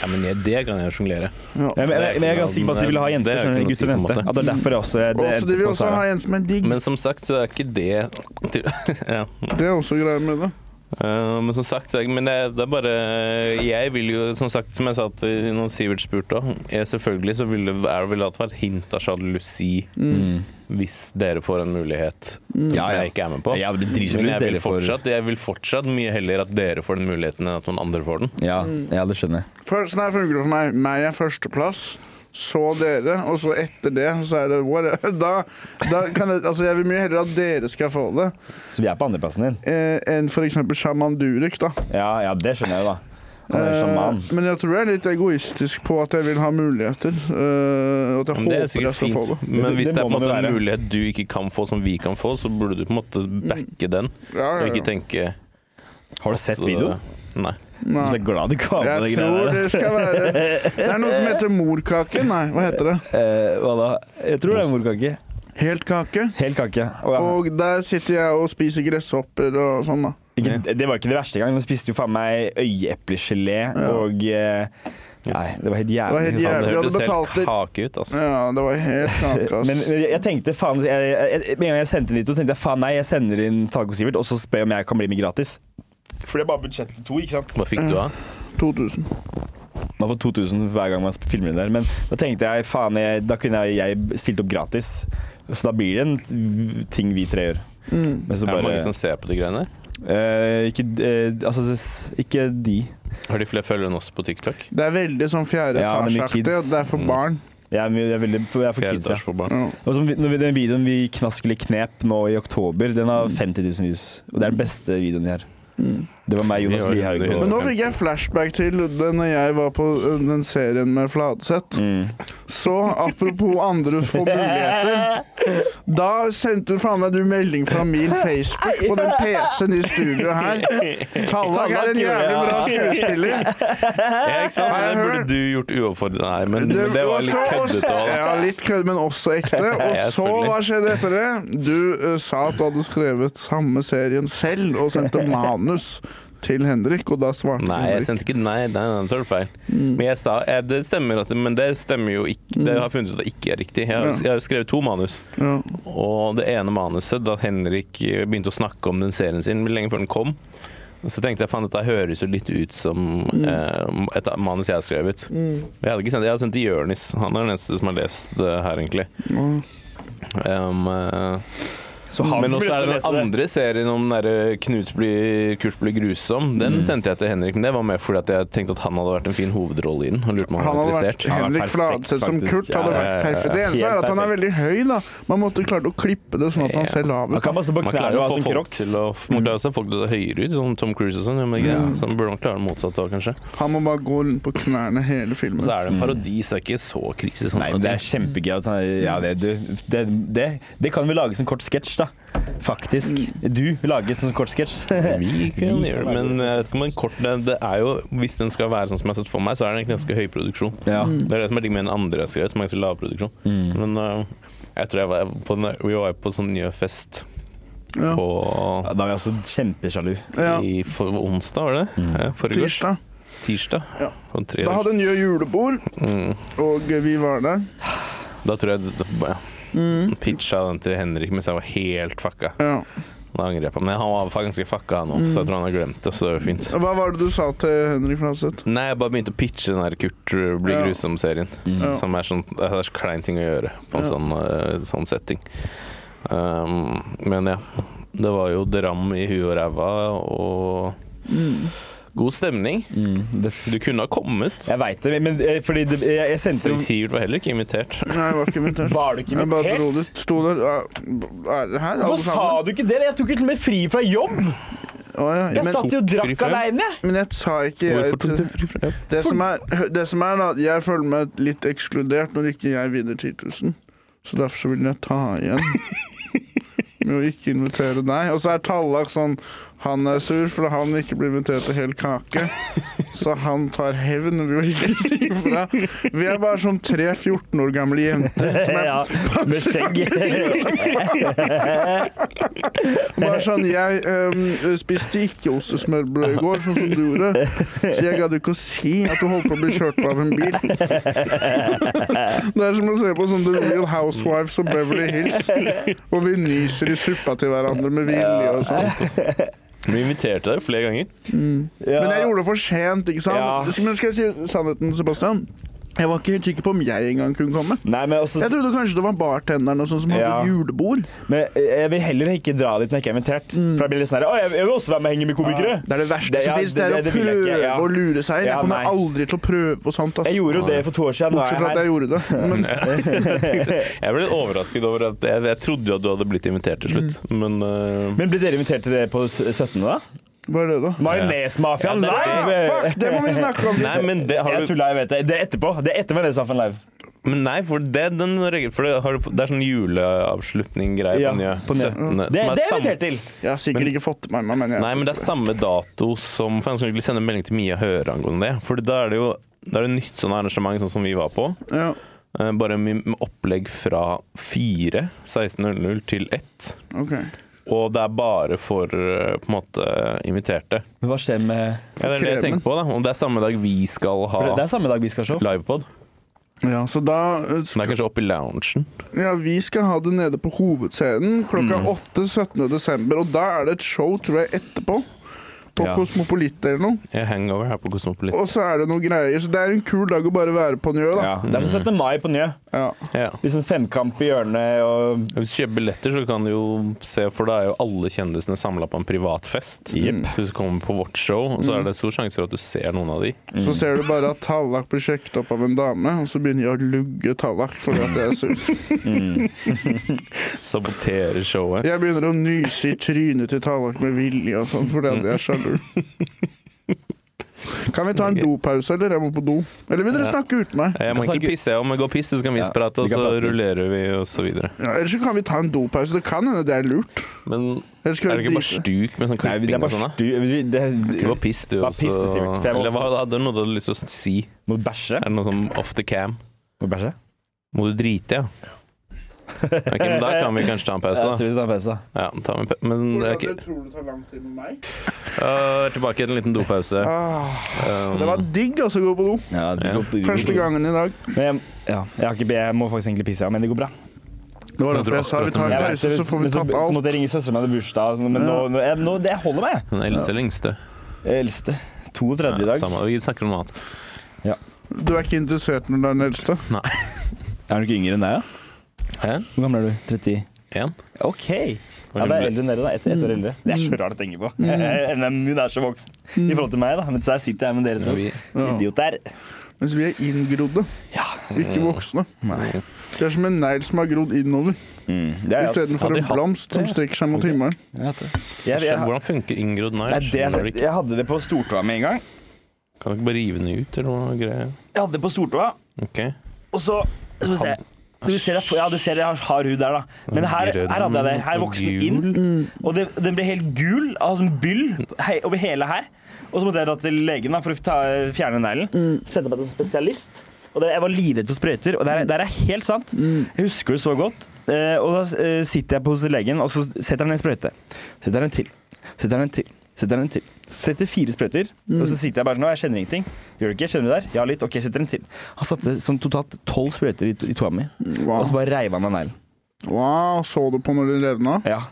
Ja, men jeg, det kan jeg sjonglere.
Ja.
Men, men, men jeg er ganske sikker på at de ville ha
Det
jenter.
er ikke
Skjønner,
noe å
du,
si på
gutt og
en
jente.
måte.
At det er derfor jeg også det
Og så de
endte
vil Mm.
på
også
Sara.
ha en som er digg.
Men som sagt, så er ikke det til, ja.
Det er også greia med det.
Eh, Men som sagt, så er- men det, det er bare Jeg vil jo, som sagt, som jeg sa til noen Sivert spurte òg Selvfølgelig så vil det, er det vel at det være et hint av sjalusi
Mm.
hvis dere får en mulighet som
Ja, ja.
jeg ikke er med på.
Jeg hadde blitt dritsur
men
hvis
jeg vil,
dere får-
fortsatt, jeg vil fortsatt mye heller at dere får den muligheten enn at noen andre får den.
Ja, ja, det skjønner jeg.
For- Sånn her funker det for meg. Meg er førsteplass. Så dere, og så etter det, så er det what? Da, da kan jeg, altså jeg vil mye heller at dere skal få det,
Så vi er på andreplassen din?
eh, enn f.eks. sjaman Durek, da.
Ja, ja, det skjønner jeg jo, da. Han er jo sjaman.
Eh, men jeg tror jeg er litt egoistisk på at jeg vil ha muligheter. eh, og at jeg
Men det
håper
er
jeg
sikkert
skal få
fint,
det.
men
Det-
hvis
det
det er på
må
en måte
det
en
være.
mulighet du ikke kan få som vi kan få, så burde du på en måte backe den,
Ja,
og
ja, ja.
ikke tenke
Eh, Har du sett videoen?
Nei.
Nei.
Så jeg er glad du ikke var med på det
Jeg
greiene
tror
der.
det
altså.
skal være Det er noe som heter morkake. Nei, hva heter det?
Eh, hva da? Jeg tror det er morkake.
Helt kake.
Hel kake. Å, ja.
Og der sitter jeg og spiser gresshopper og sånn, da.
ikke, det var ikke det verste engang. Nå spiste jo faen meg øyeeplegelé og eh, Nei, det var helt
Det var
jævlig.
helt jævlig.
Faen, det
faen.
Vi hadde
hørtes
betalt
helt
det.
kake ut, altså.
Ja, det var helt kake, ass.
Men men jeg tenkte faen jeg, jeg, jeg, Med en gang jeg sendte inn de to, tenkte jeg faen nei, jeg sender inn Taco Sivert, og så spør jeg om jeg kan bli med gratis. For det er bare budsjettet til to, ikke sant?
Hva fikk du av?
2000.
Man får 2000 hver gang man filmer det der, men da tenkte jeg faen, jeg, da kunne jeg, jeg stilt opp gratis. Så da blir det en ting vi tre gjør. Men så
Er det
bare
mange som ser på de greiene der?
Eh, ikke, eh, altså, s- ikke de.
Har de flere følgere enn oss på TikTok?
Det er veldig sånn fjerde
Ja, det er mye
etasjeaktig.
kids. Mm.
det er for
Mm.
barn.
Jeg er, mye- jeg er veldig jeg er for
Fjerde
kids. Ja.
etasje for barn.
Ja.
Og som vi- når vi- den videoen vi knask eller knep nå i oktober, den har 50 000 views. Og det er den beste videoen vi har.
Mm.
Det var meg, Jonas
Vi har-
Lihaug.
vi har-
Men
Og,
nå fikk jeg flashback til det når jeg var på ø, den serien med Fladseth.
mm.
Så apropos andre få muligheter. Da sendte faen meg du melding fra min Facebook på den PC-en i studio her. Tallak er en jævlig bra skuespiller.
Ja, ikke sant?
Har jeg
Det burde
hørt?
du gjort uoppfordret. Nei, men det, men det var litt
også-
køddete. også, da.
Ja, litt kødd, men også ekte.
Ja,
Og så,
selvfølgelig.
hva skjedde etter det? Du eh, sa at du hadde skrevet samme serien selv, og sendte manus til Henrik, og da svarte
Nei, jeg
Henrik.
sendte ikke Nei, nei, nei, så er det feil. Men jeg sa eh, Det stemmer, at, men det stemmer jo ikke. Det har jeg funnet ut at det ikke er riktig. Jeg har,
Ja.
jeg har skrevet to manus.
Ja.
Og det ene manuset, da Henrik eh, begynte å snakke om den serien sin lenge før den kom, så tenkte jeg faen, dette høres jo litt ut som eh, et manus jeg har skrevet. Jeg hadde ikke sendt, jeg hadde sendt til Jørnis. Han er den eneste som har lest det her, egentlig.
Ja.
Um, eh,
Mm. så han
men
får
også
mulighet
er det
til å
den
lese
andre serien om den der Knut blir, Kurt blir grusom. Den
Mm.
sendte jeg til Henrik, men det var med fordi at jeg tenkte at han hadde vært en fin hovedrolle i den. Og lurte på om han
Han
var
hadde
interessert.
vært
Han hadde vært
Henrik
perfekt,
Fladseth som
faktisk.
Kurt.
Ja,
hadde
ja,
vært
ja, ja.
perfekt. Det eneste er
Helt
at han er veldig høy, da. Man måtte klare å klippe det sånn at han
Ja.
ser lav
Man
ut.
kan passe på
Man
knærne
klarer å
og ha
få
sin
folk
crocs.
til å, man klarer å se folk til å se høyere ut, sånn Tom Cruise og sånn. Men ikke,
Mm.
Så man burde nok klare det motsatte òg, kanskje.
Han må bare gå rundt på knærne hele filmen.
Og så er det en parodi, så det er ikke så krise. Sånn,
Mm. Nei, men det er kjempegøy. at han- Ja, det, du, det, det, det kan vi lage som kort sketsj, da. Faktisk. Du lager som kort sketsj.
vi kan gjøre det, men jeg vet ikke om en kort det, det er jo, Hvis den skal være sånn som jeg har sett for meg, så er det egentlig ganske høy produksjon.
Ja. Mm.
Det er det som er digg med den andre jeg skrev, som er ganske lav produksjon.
Mm.
Men øh, jeg tror jeg var på, den- vi var på sånn ny fest
Ja.
på
Ja, Da er vi også kjempesjalu.
Ja.
i, for, Onsdag, var det? Mm. Forrige tirsdag.
Tirsdag.
tirsdag.
Ja.
Sånn tre-
Da hadde Njø julebord,
Mm.
og vi var der. Mm.
da tror jeg da, ja. pitcha den til Henrik mens jeg var helt fucka.
Ja.
Da angrer jeg på Men han var fa- ganske fucka, han òg,
Mm.
så jeg tror han har glemt det. Så det var fint.
Hva var det du sa til Henrik Fladseth?
Nei, jeg bare begynte å pitche den her Kurt uh, blir
Ja.
grusom-serien.
Mm.
Ja.
Som er sånn Det er så klein ting å gjøre på en
Ja.
sånn, uh, sånn setting. Um, men ja. Det var jo dram i huet og ræva og
Mm.
god stemning.
Mm. Det,
Du kunne ha kommet.
jeg veit det, men eh, fordi det, jeg, jeg sendte jo
Sivert var heller ikke invitert.
Nei, jeg var ikke invitert.
Var du ikke
Jeg bare
invitert?
dro dit. Sto der ja, Er det her, alle
Hvorfor sa
sammen?
du ikke det? Jeg tok jo til og med fri fra jobb!
Å, ja.
Jeg
men,
satt jo og
Fri
drakk
fra jobb?
aleine, jeg.
men jeg sa ikke jeg,
Hvorfor tok du fri fra jobb?
det, som er, det som er, da Jeg føler meg litt ekskludert når ikke jeg vinner 10 000. Så derfor så vil jeg ta igjen med å ikke invitere deg. Og så er Tallak sånn Han er sur fordi han ikke blir invitert til hel kake. Så han tar hevn ved å ikke si ifra. Vi er bare som tre 14 år gamle jenter som er
Ja, med skjegg.
Bare sånn, Jeg øhm, spiste ikke ostesmørbrød i går, sånn som du gjorde. Så jeg gadd ikke å si at du holdt på å bli kjørt på av en bil. Det er som å se på sånn The Real Housewives og Beverly Hills, hvor vi nyser i suppa til hverandre med vilje og sånn.
Vi inviterte deg flere ganger.
Ja.
Men jeg gjorde det for sent, ikke
Ja.
sant? Men skal jeg si sannheten, Sebastian? Jeg var ikke helt sikker på om jeg engang kunne komme.
Nei, men også
Jeg trodde kanskje det var bartenderen og sånn som hadde
Ja.
julebord.
Men jeg vil heller ikke dra dit når jeg ikke er invitert. For jeg blir litt sånn her, «Å, jeg, jeg vil også være med og henge med komikere.
Det er det verste
Det- ja,
som fins. Det er
det-
å
det vil jeg ikke,
prøve
ja.
å lure seg inn.
Ja,
Jeg kommer
nei.
aldri til å prøve på sånt. ass.
Jeg gjorde jo det for to år siden. Nå er
Bortsett fra at
jeg
jeg
her.
gjorde det. Men
Jeg ble litt overrasket over at jeg, jeg trodde jo at du hadde blitt invitert til slutt, men øh,
Mm. Men ble dere invitert til det på s- 17., da?
hva er det, da?
Majonesmafiaen
Ja, det er
live!
Fuck, det må vi snakke om!
Nei, men det har
Jeg
du
tulla, jeg vet det. Det er etterpå. Det er etter Majonesmafiaen live.
Men nei, for det, den, regel- for det, har du, det er sånn juleavslutning-greie
Ja,
på Njø.
på Njø.
17., som
Det,
er
det er jeg
samme-
invitert til.
Jeg har sikkert ikke fått det med meg, men jeg
Nei, men det er samme dato som For jeg skulle egentlig sende en melding til Mia Høre angående det. For da er det jo da er det nytt sånn arrangement sånn som vi var på.
ja.
Eh, Bare med med opplegg fra 4, 16.00 til 1.
ok.
Og det er bare for eh, på en måte inviterte.
Men hva skjer med
Ja, det er det jeg
Kremen.
tenker på, da. Om det er samme dag vi skal ha
For det, det er samme dag vi skal show.
livepod.
Ja, så da eh,
Men det er kanskje oppe i loungen.
Ja, vi skal ha det nede på hovedscenen klokka 8 17. desember, og da er det et show, tror jeg, etterpå. På
Ja.
Kosmopolitt eller noe.
Jeg er hangover her på Kosmopolit.
Og så er det noen greier. Så det er en kul dag å bare være på Njø, da.
Ja. Det er som 17. mai på Njø.
Ja.
Ja.
Liksom femkamp i hjørnet og
Hvis du kjøper billetter, så kan du jo se, for da er jo alle kjendisene samla på en privatfest.
Jepp.
Så hvis du kommer på vårt show, så
Mm.
er det stor sjanse for at du ser noen av de.
Så ser du bare at Tallak blir sjekket opp av en dame, og så begynner jeg å lugge Tallak fordi at jeg er sur.
Saboterer showet.
Jeg begynner å nyse i trynet til Tallak med vilje og sånn, fordi at jeg er sjalu. Kan vi ta en dopause, eller? Jeg må på do. Eller vil dere
Ja.
snakke uten meg?
Eh, Jeg må
kan snakke-
egentlig pisse, jeg må gå og pisse, så kan vi
Ja,
prate,
vi
og
kan
så
prate litt.
rullerer vi, og så videre.
Ja, ellers så kan vi ta en dopause. Det kan hende det er lurt.
Men
Ellers
er
kan
det
vi
ikke
drite.
bare stuk med sånn
Nei, det er
klipping og
bare
sånn? da?
stu... vi- Det
Ikke
er
bare piss, du
Bare
også.
piss, du, Sivert, for jeg må
Eller hva
også-
hadde du noe du hadde lyst til å si?
Må du bæsje?
Er det noe som off the cam?
Må du bæsje?
Må du drite, ja? Ok, men Da kan vi kanskje ta en pause,
Jeg
da.
tror vi tar en pause.
Ja, ta en pa- men det er ikke
tror det tar lang tid med meg?
Øh, Tilbake til en liten dopause.
Ah,
Um,
det var digg altså, å gå på do.
Ja, det
Ja.
går- det går
Første
bra.
gangen i dag.
Men jeg, ja, jeg, har ikke, be- jeg må faktisk egentlig pisse, ja, men det går bra.
Det var
Jeg
derfor
tror
jeg sa vi tar
akkurat
en
Jeg
pause,
vet det,
så får
men
vi tatt
Så
alt.
måtte jeg ringe søsteren min, hadde bursdag, altså, men nå, nå, jeg, nå det holder meg.
Den eldste lengste.
Jeg er Eldste. 32 i
Ja,
dag.
samme. Vi snakker om mat.
Du er ikke interessert når du er den eldste?
Er du ikke yngre enn deg, ja?
Hæ?
Hvor gammel er du? 30?
En?
OK. Ja, det er eldre enn dere, da. Ett ett år eldre. Det er så rart å tenke på. Mm. Hun er så voksen i forhold til meg, da. Men så her sitter jeg med dere
Ja,
to.
vi-
Ja.
Idioter.
Mens vi er inngrodde,
Ja.
ikke voksne.
Nei.
Det er som en negl som har grodd innover,
Mm. Det er jo
istedenfor
Hadde
en
jeg hatt-
blomst som strekker seg mot himmelen.
Jeg, jeg, jeg,
Hvordan funker inngrodd negl?
Nei, det,
Skjønner du
jeg,
ikke?
jeg hadde det på stortåa med en gang.
Kan du ikke bare rive den ut, eller noe greier?
Jeg hadde det på stortåa,
Ok.
og så Skal vi se. Du ser, jeg, ja, du ser jeg har hard hud der, da. Men her, her hadde jeg det. Her vokste den inn.
Mm.
Og det, den ble helt gul av sånn byll hei, over hele her. Og så måtte jeg dra til legen da, for å ta, fjerne neglen.
Mm.
Sendte meg til en spesialist. Og det, jeg var livredd for sprøyter, og det er, det er helt sant.
Mm.
Jeg husker det så godt. Eh, og da eh, sitter jeg på hos legen, og så setter han en sprøyte. Setter han en til. Setter han en til. Setter han en til. Setter fire sprøyter,
Mm.
og så sitter jeg bare sånn «Å, Jeg kjenner ingenting. Gjør du ikke? Kjenner du der? Ja, litt. OK, setter en til. Han satte sånn totalt tolv sprøyter i, i toa mi, og
Wow.
så bare reiv han av neglen.
wow, så du på når den revna?
Ja.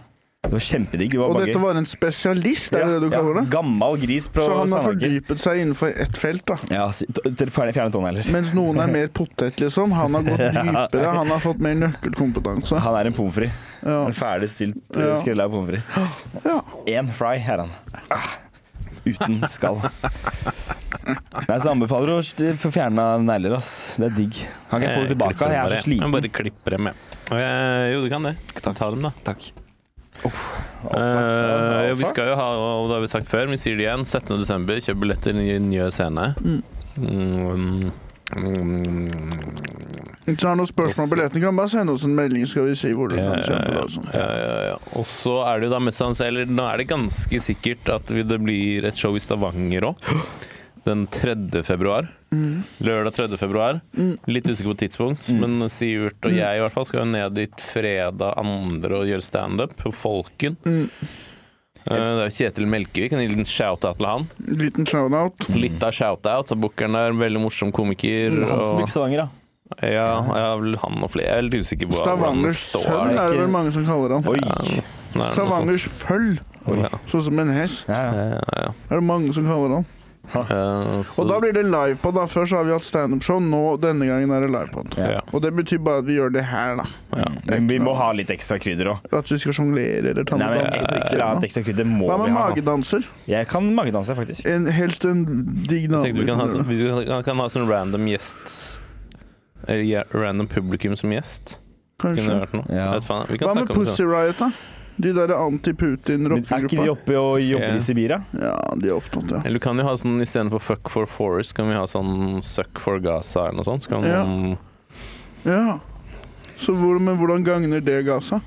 Det var kjempedigg. Det var
Og
bare
dette
gøy.
var en spesialist, er det det du
Ja,
kaller
ja,
det?
Gammal gris på
Så han har
Sandaker.
fordypet seg innenfor ett felt, da.
Ja, si- t- til fjerne fjerne tånegler.
Mens noen er mer potet, liksom. Han har gått dypere, han har fått mer nøkkelkompetanse.
Han er en pommes frites.
Ja.
En ferdig stilt eh,
Ja.
skrella pommes frites.
ja.
Én fry er han. Ah, Uten skall. Nei, så anbefaler du å st- få fjerna negler, ass. Det er digg. Kan ikke jeg få det
klipper
tilbake.
dem
Jeg er
bare.
så sliten.
Jeg bare klipper dem, jeg. Eh, jo, du kan det. Ta dem, da.
Takk.
Eh, ja, vi
fuck.
skal jo ha, og det har vi sagt før, men vi sier det igjen. 17. desember, kjøp billetter i Njø scene. Mm. Mm.
Hvis du har noen spørsmål om billetten, kan du bare sende oss en melding, skal vi si hvor du kan kjøpe det. og sånn. sånt.
Ja, ja, ja. Og så er det jo da mest sannsynlig Eller nå er det ganske sikkert at vi- det blir et show i Stavanger òg. Den 3. februar.
Mm,
Lørdag 3. februar. Litt usikker på tidspunkt, men Sivert
Mm.
og jeg i hvert fall skal jo ned dit fredag 2. og gjøre standup på Folken.
mm.
Eh, Det er jo Kjetil Melkevik. En liten shout-out til han.
Liten shout-out.
Litt av shout-out. Bookeren er en veldig morsom komiker.
Han som
Og,
bygger Stavanger, da.
ja, ja, vel, han og flere. Jeg er litt usikker på hvordan det
Stavangers sønn
står.
er det
ikke-
vel mange som kaller han.
Oi.
Ja, nei, noe sånt.
Stavangers føll,
Ja.
sånn som en hest,
Ja, ja.
Ja, ja, ja.
er det mange som kaller han.
Eh, så-
Og da blir det livepod, da. Før så har vi hatt standup-show, nå denne gangen er det livepod.
ja. Ja,
Og det betyr bare at vi gjør det her, da.
Men vi må ha litt ekstra krydder òg.
At vi skal sjonglere eller ta
Nei,
med
men et eller annet
dansetriks.
ekstra krydder må
Hva
vi
med
ha.
magedanser?
Jeg kan magedanse, faktisk.
En, helst en digg
Jeg tenkte vi kan ha,
nabo.
sånn- vi kan- kan ha sånn random gjest Eller ja, random publikum som gjest.
Kanskje.
Kunne det vært noe?
Ja.
Jeg Vet faen. Vi kan
Hva med
snakke om det
Pussy
sånn.
Riot, da? De derre
Men Er ikke de
anti-Putin-rockegruppa?
oppe og jobber
Ja.
i Sibir, da?
Ja, de er opptatt, ja.
Eller du kan jo ha sånn istedenfor Fuck for Forest, kan vi ha sånn Suck for Gaza eller noe sånt. Så kan
Ja.
man-
ja. Så hvor, men hvordan gagner det Gaza?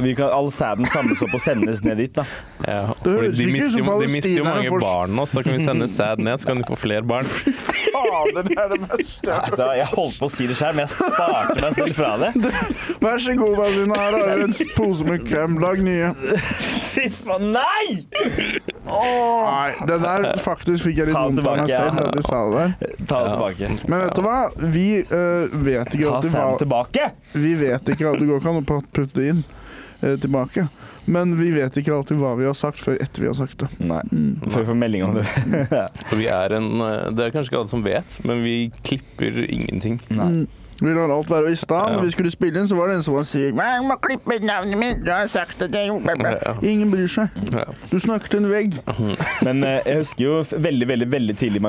Vi kan, all sæden samles opp og sendes ned dit, da.
ja,
Det
fordi
høres
de
ikke ut
mister
som
jo- De mister jo
palestinerne
mange
får-
barn nå, så da kan vi sende sæd ned, så kan de få flere barn.
Fader, det er det verste.
Da, jeg holdt på å si det sjøl, men jeg sparte meg selv fra det.
Vær så god, Basina. Her har du en pose med krem. Lag nye.
Fy faen, nei! Åh.
Nei, det der faktisk fikk jeg litt
Ta den
vondt av meg
tilbake,
selv
ja.
da de sa det der.
Ta det tilbake.
Men vet du hva? Vi eh, vet ikke
Ta
alltid
Sam
hva
tilbake!
Vi vet ikke alltid Det går ikke an å pat- putte det inn eh, tilbake. Men vi vet ikke alltid hva vi har sagt før etter vi har sagt det.
Nei. Før vi får melding om det.
For vi er en eh, Det er kanskje ikke alle som vet, men vi klipper ingenting.
Nei.
Vi lar alt være i stand.
Ja.
Vi skulle spille inn, så var det en som var
Jeg
syk.
må klippe ut navnet mitt, du har sagt at jeg gjorde
Ja.
Ingen bryr seg.
Ja.
Du snakket til en vegg.
Men eh, jeg husker jo f- veldig veldig, veldig tidlig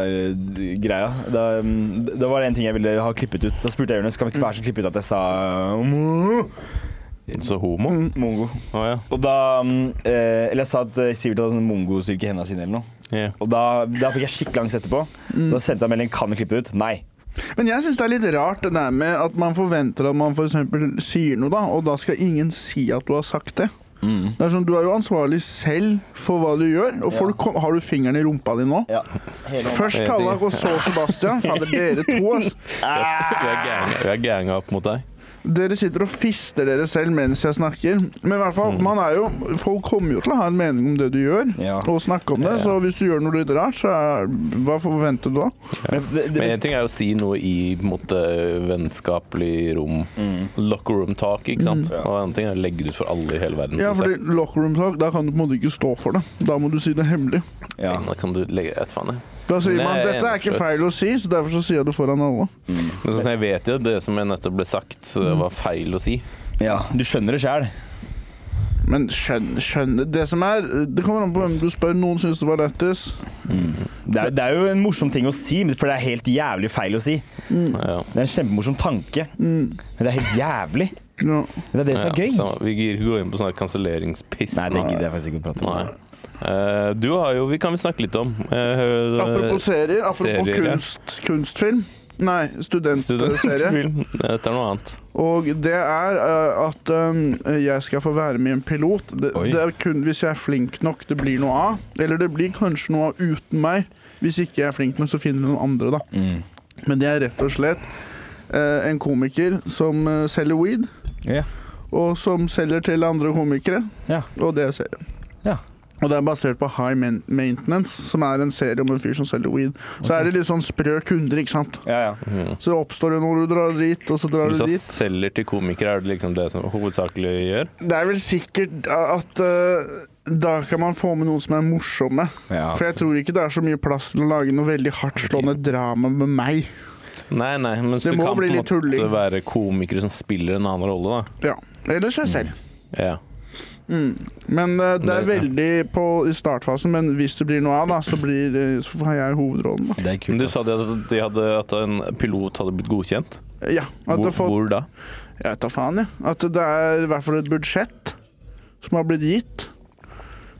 majonesmafia-greia. Da, mm, da var det en ting jeg ville ha klippet ut. Da spurte jeg Jonis kan vi ikke være så klippet ut at jeg sa mm,
Så homo?
Mm.
mongo.
Å ja.
Og da mm, eh, Eller jeg sa at eh, Sivert hadde sånn mongostyrke i hendene sine eller noe.
Ja.
Og da, da fikk jeg skikkelig angst etterpå. Da sendte jeg melding kan vi klippe det ut. Nei.
Men jeg syns det er litt rart det der med at man forventer at man f.eks. sier noe, da, og da skal ingen si at du har sagt det.
Mm.
Det er sånn, Du er jo ansvarlig selv for hva du gjør, og folk kom, har du fingeren i rumpa di nå?
Ja. Hele
Først Kallak, og så Sebastian. Fader, dere to, ass. Ah!
Vi er ganga- Vi er ganga opp mot deg.
Dere sitter og fister dere selv mens jeg snakker. Men i hvert fall, man er jo, folk kommer jo til å ha en mening om det du gjør,
Mm. Ja.
og snakke om det. Så hvis du gjør noe litt rart, så er, hva forventer du da?
Men det, det,
Men en ting er jo å si noe i på en måte, vennskapelig rom,
Mm.
locker room talk, ikke sant?
Ja.
Og en annen ting er å legge det ut for alle i hele verden.
Ja,
til å
fordi
se.
locker room talk, da kan du på en måte ikke stå for det. Da må du si det hemmelig.
ja.
Da kan du legge et faen, jeg.
Da sier
Nei,
man
jeg er
dette er
enig,
ikke
absolutt.
feil å si, så derfor så sier jeg det foran alle.
Men sånn, som jeg vet jo at det som jeg nettopp ble sagt,
Mm.
var feil å si.
ja. Du skjønner det sjæl.
Men skjønn, skjønn Det som er Det kommer an på hvem du spør. Noen syns det var lettest.
Det, er- det er jo en morsom ting å si, men- for det er helt jævlig feil å si.
Ja.
Det er en kjempemorsom tanke, men det er helt jævlig.
Ja.
Men det er det som er
Ja,
gøy.
så vi gir ikke gå inn på sånn her kanselleringspiss.
Nei, det gidder jeg faktisk ikke å prate om.
Nei. Eh, du har jo Vi kan vi snakke litt om. Eh,
Apropos serier, apropos
serier, ja.
kunst, kunstfilm. Nei, studentserie.
Studentfilm. Dette er noe annet.
Og det er eh, at eh, jeg skal få være med i en pilot. Det,
Oi.
det er kun hvis jeg er flink nok det blir noe av. Eller det blir kanskje noe av uten meg. Hvis ikke jeg er flink nok, så finner noen andre, da.
Mm.
Men det er rett og slett eh, en komiker som eh, selger weed,
Ja.
og som selger til andre komikere.
Ja.
Og det er serien.
Ja.
Og det er basert på High Man- Maintenance, som er en serie om en fyr som selger weed. Så er det litt sånn sprø kunder, ikke sant.
Ja, ja.
Så oppstår det noe, du drar dit, og så drar
Hvis
du
du
dit.
selger til komikere, er det liksom det som hovedsakelig gjør?
Det er vel sikkert at eh, da kan man få med noen som er morsomme.
Ja.
For jeg tror ikke det er så mye plass til å lage noe veldig hardtslående drama med meg.
Nei, nei, men så
Det
du
må
kan på
bli
en
litt
måte
tulling.
være komikere som spiller en annen rolle,
Ja.
da.
Eller seg selv.
Ja.
Men eh, det er
Det- ja.
veldig på i startfasen, men hvis det blir noe av, da, så, blir, eh, så har jeg hovedrollen. Da.
Det er
Men
kult.
du sa de at, de hadde, at en pilot hadde blitt godkjent.
Ja. At
Hvor,
det, får,
hvor da?
jeg tar faen, jeg. At det er i hvert fall et budsjett som har blitt gitt.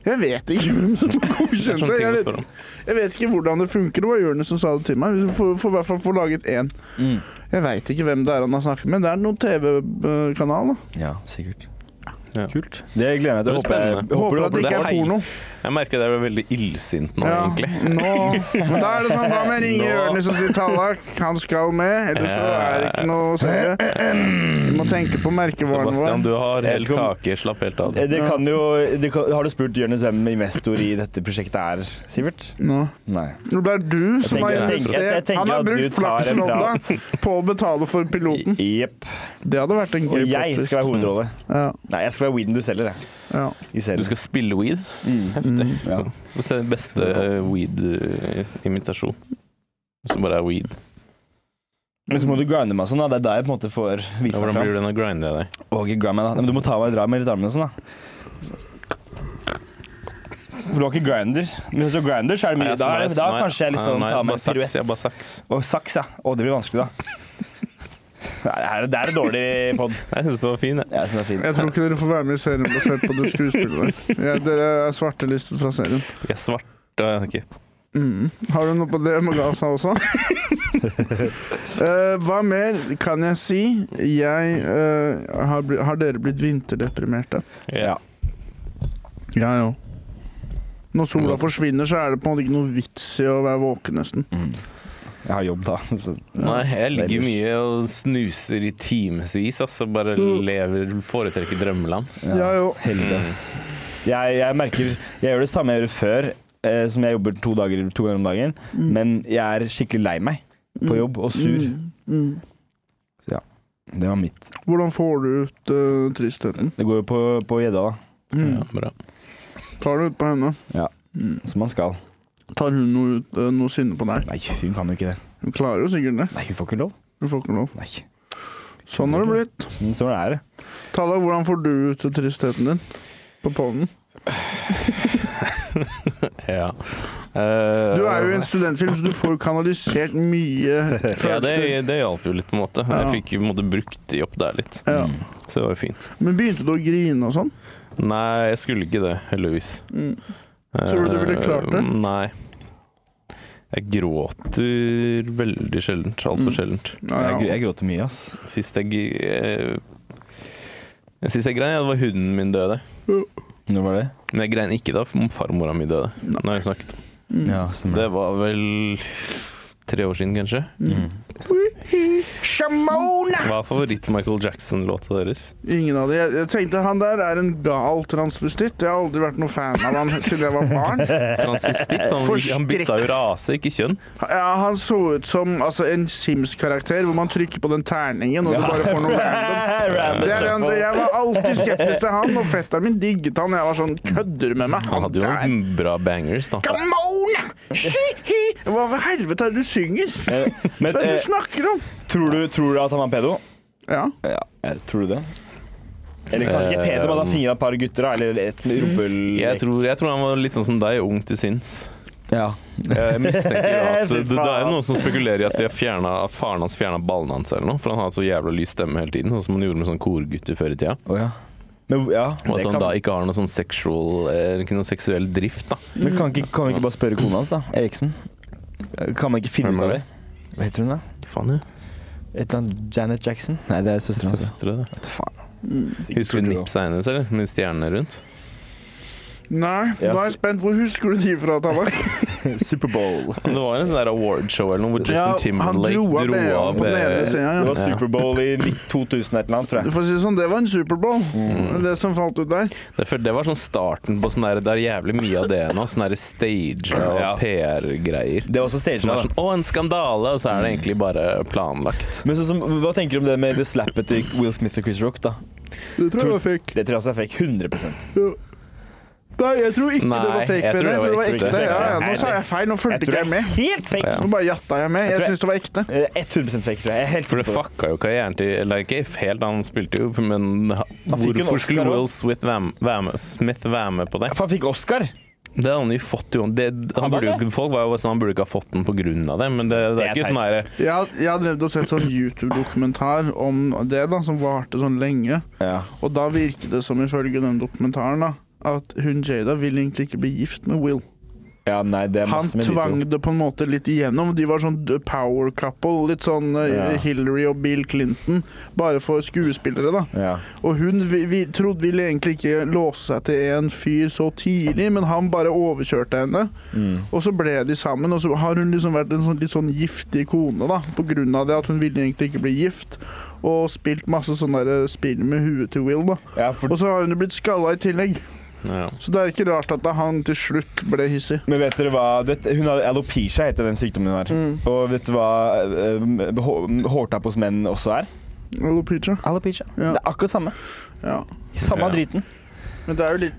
Jeg vet ikke hvem som
Det er
godkjente
sånne
det.
ting
Jeg
å
vet-
spørre om.
Jeg vet ikke hvordan det funker. Det var Jonis som sa det til meg. Vi får, får i hvert fall få laget én.
Mm.
Jeg veit ikke hvem det er han har snakket med. Det er noen TV-kanal. da.
Ja, sikkert.
Ja.
Kult. Det gleder jeg meg til.
Det blir
Håper jeg-
spennende.
håper
Håper,
du-
at det
det
ikke
er
er porno.
Jeg merker at jeg ble veldig illsint nå,
Ja,
egentlig.
nå. Men da er det sånn, hva med ringe
Nå.
Jonis og si Tallak, han skal med, eller så er det ikke noe å si. Vi må tenke på merkevaren
Sebastian,
vår.
du har
Jeg
hel
vet ikke om-
kake. Slapp helt av.
Eh, Det kan jo, det kan, har du spurt Jonis hvem investor i dette prosjektet er, Sivert?
Nå.
Nei.
Og Det er du som
tenker-
har
jeg
tenker- jeg
investert.
tenker
Han har
at du
brukt
tar en
flakslodda på å betale for
Mm.
piloten.
Jepp.
Det hadde vært en
Og
gøy
jeg
plot
skal være hovedrolle.
twist. Ja,
Nei, jeg skal være weeden du selger, jeg.
ja.
I serien.
Du skal spille weed.
Mm.
Heftig. Få se den beste eh, weed-imitasjon. Hvis det bare er weed.
Men så må du grinde meg sånn, da. Det er da jeg på en måte får
Ja,
vise meg
hvordan
fram.
blir det når grinder jeg deg?
Og ikke grind meg, da. Nei, Men du må ta meg dra med litt armene og sånn, da. For du har ikke grinder. Men hvis du har grinder, så er det
Nei,
mye
jeg-
Da,
nei,
er- da
nei,
kanskje jeg liksom
nei, bare
tar med en
saks,
piruett.
Jeg bare saks.
Og saks, ja. Å, det blir vanskelig, da. Nei, det her- det er en dårlig pod.
Nei, Jeg syns det var fin, jeg.
Jeg synes den er
Jeg tror ikke dere får være med i serien basert på det skuespillet. Ja, dere er svartelistet fra serien.
Vi er svarte. ok.
Mm. Har du noe på det med Gaza også? Eh, hva mer kan jeg si? Jeg eh, har, bli, har dere blitt vinterdeprimerte?
Ja.
Ja, jo. Når sola forsvinner, så er det på en måte ikke noe vits i å være våken, nesten.
fin. Jeg har jobb, da. så-
Nei, jeg ligger
Ellers.
mye og snuser i timevis, altså. Bare lever, foretrekker drømmeland.
Ja, jo.
Heldig, ass. Jeg, jeg merker Jeg gjør det samme jeg gjorde før, eh, som jeg jobber to, dager, to ganger om dagen. Men jeg er skikkelig lei meg på jobb og sur.
Mm. Mm.
Det var mitt.
Hvordan får du ut eh, tristheten?
Det går jo på, på gjedda, da.
Mm.
Ja, bra.
Tar det ut på henne?
Som man skal.
Tar hun noe, ut, eh, noe sinne på deg?
Nei, hun kan jo ikke det.
Hun klarer jo sikkert det.
Nei, hun får ikke lov.
Du får ikke lov.
Nei.
Sånn har det blitt.
Sånn, sånn er det.
Talla, hvordan får du ut tristheten din? På pollen?
Ja. Eh,
Du er jo i en studentfilm, så du får jo kanalisert mye
ja, det,
følelser.
det hjalp jo litt, på en måte.
Ja.
Jeg fikk jo på en måte brukt de opp der litt,
Ja.
Mm.
så det var jo fint.
Men begynte du å grine og sånn?
Nei, jeg skulle ikke det, heldigvis.
Mm. Tror du du ville klart det?
Eh, Nei. Jeg gråter veldig sjeldent. Altfor sjeldent.
Ja, ja.
Jeg, jeg gråter mye, ass.
Sist jeg eh, Sist jeg grein, ja, det var hunden min døde.
Når var det?
Men jeg grein ikke da farmora mi døde.
Nei.
Når jeg snakket.
Mm.
Ja, stemmer
Det var vel tre år siden, kanskje.
Mm.
Shamona!
Hva er favoritt-Michael Jackson-låta deres?
Ingen av de. Jeg, jeg tenkte han der er en gal transvestitt. Jeg har aldri vært noen fan av han siden jeg var barn.
Transvestitt. Han, han bytta jo rase, ikke kjønn.
Ja, Han så ut som altså, en Sims-karakter hvor man trykker på den terningen og du bare får noe random. Det er det han, jeg var alltid skeptisk til han, og fetteren min digget han. Jeg var sånn Kødder du med meg?
Han hadde jo
der.
noen bra bangers, da.
Gamona! Skihi! Hva i helvete er det du synger?
Eh, Men
Hva er det
eh,
du snakker om?
tror, du, tror du at han var pedo?
Ja.
Ja, tror du det? Eller kanskje ikke pedo, men han fingra et par gutter, da, eller et rumpehull
Eh. Jeg tror, jeg tror han var litt sånn som deg, ung til sinns.
Ja.
Jeg mistenker at
Fy
det, det er
faen.
jo noen som spekulerer i at de har fjernet, at faren hans fjerna ballene hans eller noe, for han har så jævla lys stemme hele tiden, sånn som han gjorde med sånn korgutter før i tida.
Å ja. Men, ja
Og at
det
han
kan,
da ikke har noe sånn sexual, eh, ikke noe seksuell drift, da.
men kan, ikke, kan vi ikke bare spørre kona hans, da? Eriksen? Kan man ikke finne
Hvem
ut
er
av det?
det?
Hva heter hun, da?
Faen, ja.
Et eller annet Janet Jackson? Nei, det er søstera hans.
Søstre, det.
Vet du faen.
Mm.
Husker du nipsa hennes, eller? Med stjernene rundt?
Nei, da er jeg spent. Hvor husker du de fra, Tabak?
Superbowl.
Det var en sånn der awardshow eller noe hvor Justin
Ja, han
Timberlake
dro av
dro
BH
av eh,
på den ene
BH.
siden, ja.
Det var
Ja.
Superbowl i 2000 et eller annet, tror
Du
jeg.
får si det sånn, det var en Superbowl, det som falt ut der.
Det, for det var sånn starten på sånn der Det er jævlig mye av det nå. Sånn der stage og
Ja.
PR-greier.
Det var også
Som
stagene.
er sånn Å, en skandale! Og så er det egentlig bare planlagt.
Men sånn som, hva tenker du om det med det slappet til eh, Will Smith og Chris Rock, da?
Det tror jeg var fake.
Det tror jeg også er fake. 100
Ja. Nei, jeg tror ikke
Nei,
det var fake.
jeg
men
tror det
jeg tror det var ekte. Ja, ja, nå
Nei,
sa jeg feil, nå fulgte ikke jeg med.
helt fake.
Ja.
Nå bare jatta jeg med.
Jeg tror
Jeg
jeg-
syns det var ekte.
Eh, 100 fake, tror jeg. jeg er helt
For det
sikker på det.
fucka jo karrieren til Eller ikke helt, han spilte jo, men ha-
fikk en
hvorfor skulle
Oscar
Will
også.
Smith være med- være med- Smith være med på det?
For han fikk Oscar.
Det hadde han jo fått, jo. Det, han burde
Han
jo,
hadde
ikke- folk var jo bare sånn Han burde ikke ha fått den på grunn av det, men det, det
Det
er ikke
er teit.
sånn derre
Jeg, har- jeg har drevet og sett sånn YouTube-dokumentar om det, da, som varte sånn lenge.
Ja.
Og da virket det som, ifølge den dokumentaren, da, at hun Jada ville egentlig ikke bli gift med Will.
ja, nei, det er
Han
masse med de to.
tvang det på en måte litt igjennom. De var sånn the power couple. Litt sånn eh,
Ja.
Hillary og Bill Clinton, bare for skuespillere, da.
Ja.
Og hun vi, vi trodde ville egentlig ikke låse seg til en fyr så tidlig, men han bare overkjørte henne.
Mm.
Og så ble de sammen, og så har hun liksom vært en sånn, litt sånn giftig kone, da. På grunn av det at hun ville egentlig ikke bli gift, og spilt masse sånne der eh, spill med huet til Will, da.
ja for,
Og så har hun jo blitt skalla i tillegg,
ja.
så det er ikke rart at da han til slutt ble hissig.
men vet dere hva du vet, Hun har alopecia, heter den sykdommen hun har.
Mm.
Og vet du hva eh, hå- hårtapp hos menn også er?
Alopecia.
Alopecia.
Ja.
Det er akkurat samme.
Ja.
Samme
Ja.
driten.
Men det er jo litt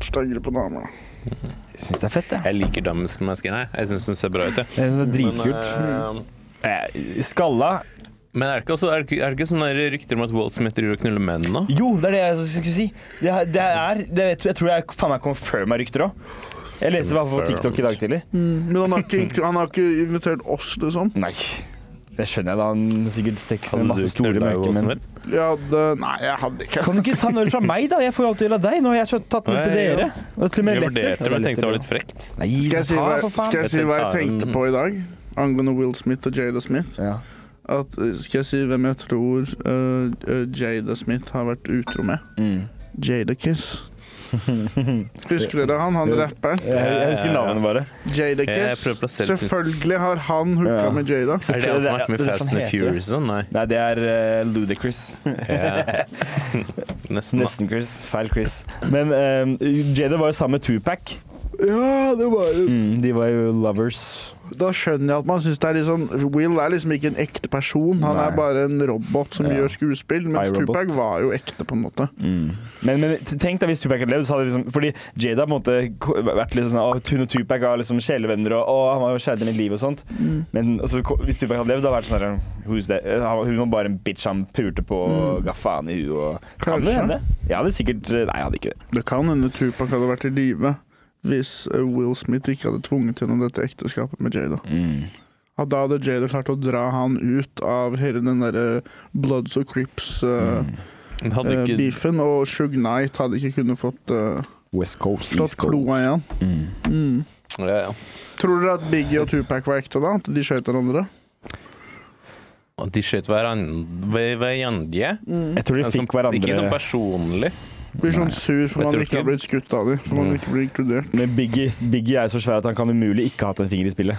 stangere på dama.
Jeg syns det er fett, jeg.
Jeg liker Damsk Masken her. Jeg syns hun ser bra ut, jeg.
Jeg synes det er dritkult. Mm.
Men, eh,
Eh, Skalla
men er det ikke, også, er det ikke, er det ikke sånne der rykter om at Will Smith driver og knuller menn nå?
Jo, det er det jeg skulle si. Det, er- det er det, vet- Jeg tror jeg faen meg confirma rykter òg. Jeg leste det i hvert fall på TikTok i dag tidlig.
Men han har, ikke, han har ikke invitert oss, liksom.
Nei. Det skjønner jeg, da. Han har sikkert sex med
Hadde du
masse store
knulla
mørke
Will
menn.
Smith?
Jeg hadde Nei, jeg hadde ikke.
Kan du ikke ta en øl fra meg, da? Jeg får jo alltid øl av deg. Nå har jeg så tatt den til
Nei, ja.
dere. Og til og med
Jeg
letter.
vurderte,
Ja,
men jeg tenkte det var
letter,
litt frekt.
ja. Nei,
Skal jeg si
ta,
hva,
for faen.
skal jeg, si hva jeg
Jeg
tenkte
tar-
på i dag angående Will Smith og Jada Smith?
Ja.
At, eh, skal jeg si hvem jeg tror eh, eh, Jada Smith har vært utro med?
Mm.
Jada Kiss. Husker dere han, han rapperen?
Jeg, jeg husker navnet bare.
Jada
Jeg
Kiss.
prøver å plassere det.
Selvfølgelig har han hooka
Ja.
med Jada.
Er det han som har vært med
Det er
Fast
sånn
and the
heter det.
Furious? og Nei.
Nei, det er eh, Ludacris.
Ja. Nesten. da.
Nesten Chris. Feil Chris. Men eh, Jada var jo sammen med Tupac.
Ja, det var jo
Mm, de var jo lovers.
Da skjønner jeg at man syns det er litt sånn Will er liksom ikke en ekte person. Han
Nei.
er bare en robot som
Ja.
gjør skuespill. Mens
iRobot.
Tupac var jo ekte, på en måte.
Mm. Men, men tenk deg hvis Tupac hadde levd, så hadde liksom Fordi Jada på en måte ko- vært litt sånn Å, hun og Tupac var liksom sjelevenner, og å, han var jo kjæresten i mitt liv og sånt. Men altså, ko- hvis Tupac hadde levd, da hadde det vært sånn her, Who's that? Han- Hun var bare en bitch han pulte på og ga faen i hun og Kan det
Kanskje.
hende? Jeg hadde sikkert eh, Nei, jeg hadde ikke det.
Det kan hende Tupac hadde vært i live hvis eh, Will Smith ikke hadde tvunget gjennom dette ekteskapet med Jada. At da hadde Jada klart å dra han ut av hele den derre Bloods og
Mm.
Crips-beefen.
Hadde
eh,
ikke
og Shug Knight hadde ikke kunnet fått eh,
West Coast,
slått kloa igjen. Mm.
ja, ja.
Tror dere at Biggie og Tupac var ekte da? At de skjøt hverandre?
Og De skjøt hverandre hverandre.
Jeg tror de
Men som-
fikk hverandre
Ikke sånn personlig.
Blir sånn sur for man
Jeg tror
ikke
ikke.
har blitt skutt av dem. For man
Mm.
ikke blir inkludert.
Men Biggie, Biggie er så svær at han kan umulig ikke ha hatt en finger i spillet.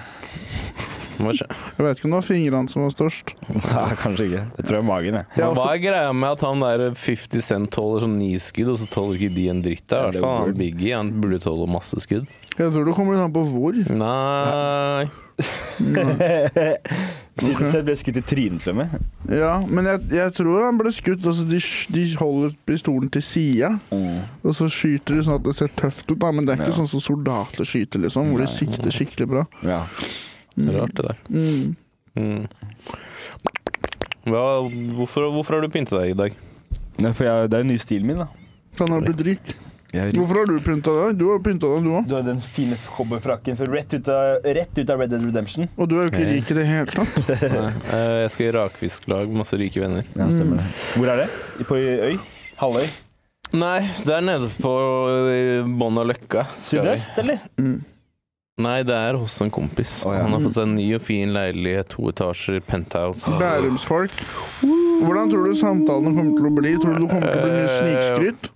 Hva skje-
Jeg vet ikke om det var fingrene som var størst.
Ja, kanskje ikke. Det tror jeg er magen, jeg.
Jeg har
Hva
også-
er greia med at han der 50 Cent tåler sånn ni skudd, og så tåler ikke de en dritt?
Ja,
Der, i
det
hvert
er
fall
weird.
han Biggie. Han burde tåle masse skudd.
Jeg tror det kommer litt an på hvor.
Nei
Liten Seth ble skutt i trynet til og med.
Ja, men jeg, jeg tror han ble skutt. Altså, de, de holder pistolen til sida, og så skyter de sånn at det ser tøft ut, da. Men det er ikke
Ja.
sånn som soldater skyter, liksom, hvor de sikter skikkelig bra.
Ja.
Rart, det der.
Mm.
Mm. Hva, hvorfor, hvorfor har du pynta deg i dag?
Nei, for jeg, det er jo ny stilen min, da.
Han har blitt rik. Hvorfor har du pynta deg? Du har jo pynta deg, du òg.
Du har den fine cowboyfrakken fra rett ut, av, rett ut av Red Dead Redemption.
Og du er jo ikke
Nei.
rik i det hele tatt.
Nei, eh, Jeg skal i rakfisklag med masse rike venner.
Ja, stemmer det. Mm. Hvor er det? I- På øy? Halvøy?
Nei, der nede på eh, bånn av løkka. skal vi.
Sydøst, eller?
Mm.
Nei, det er hos en kompis.
Å, ja.
Han har fått seg en ny og fin leilighet, to etasjer, penthouse.
Bærumsfolk. Hvordan tror du samtalene kommer til å bli? Tror du det kommer til å bli mye
Eh,
snikskryt?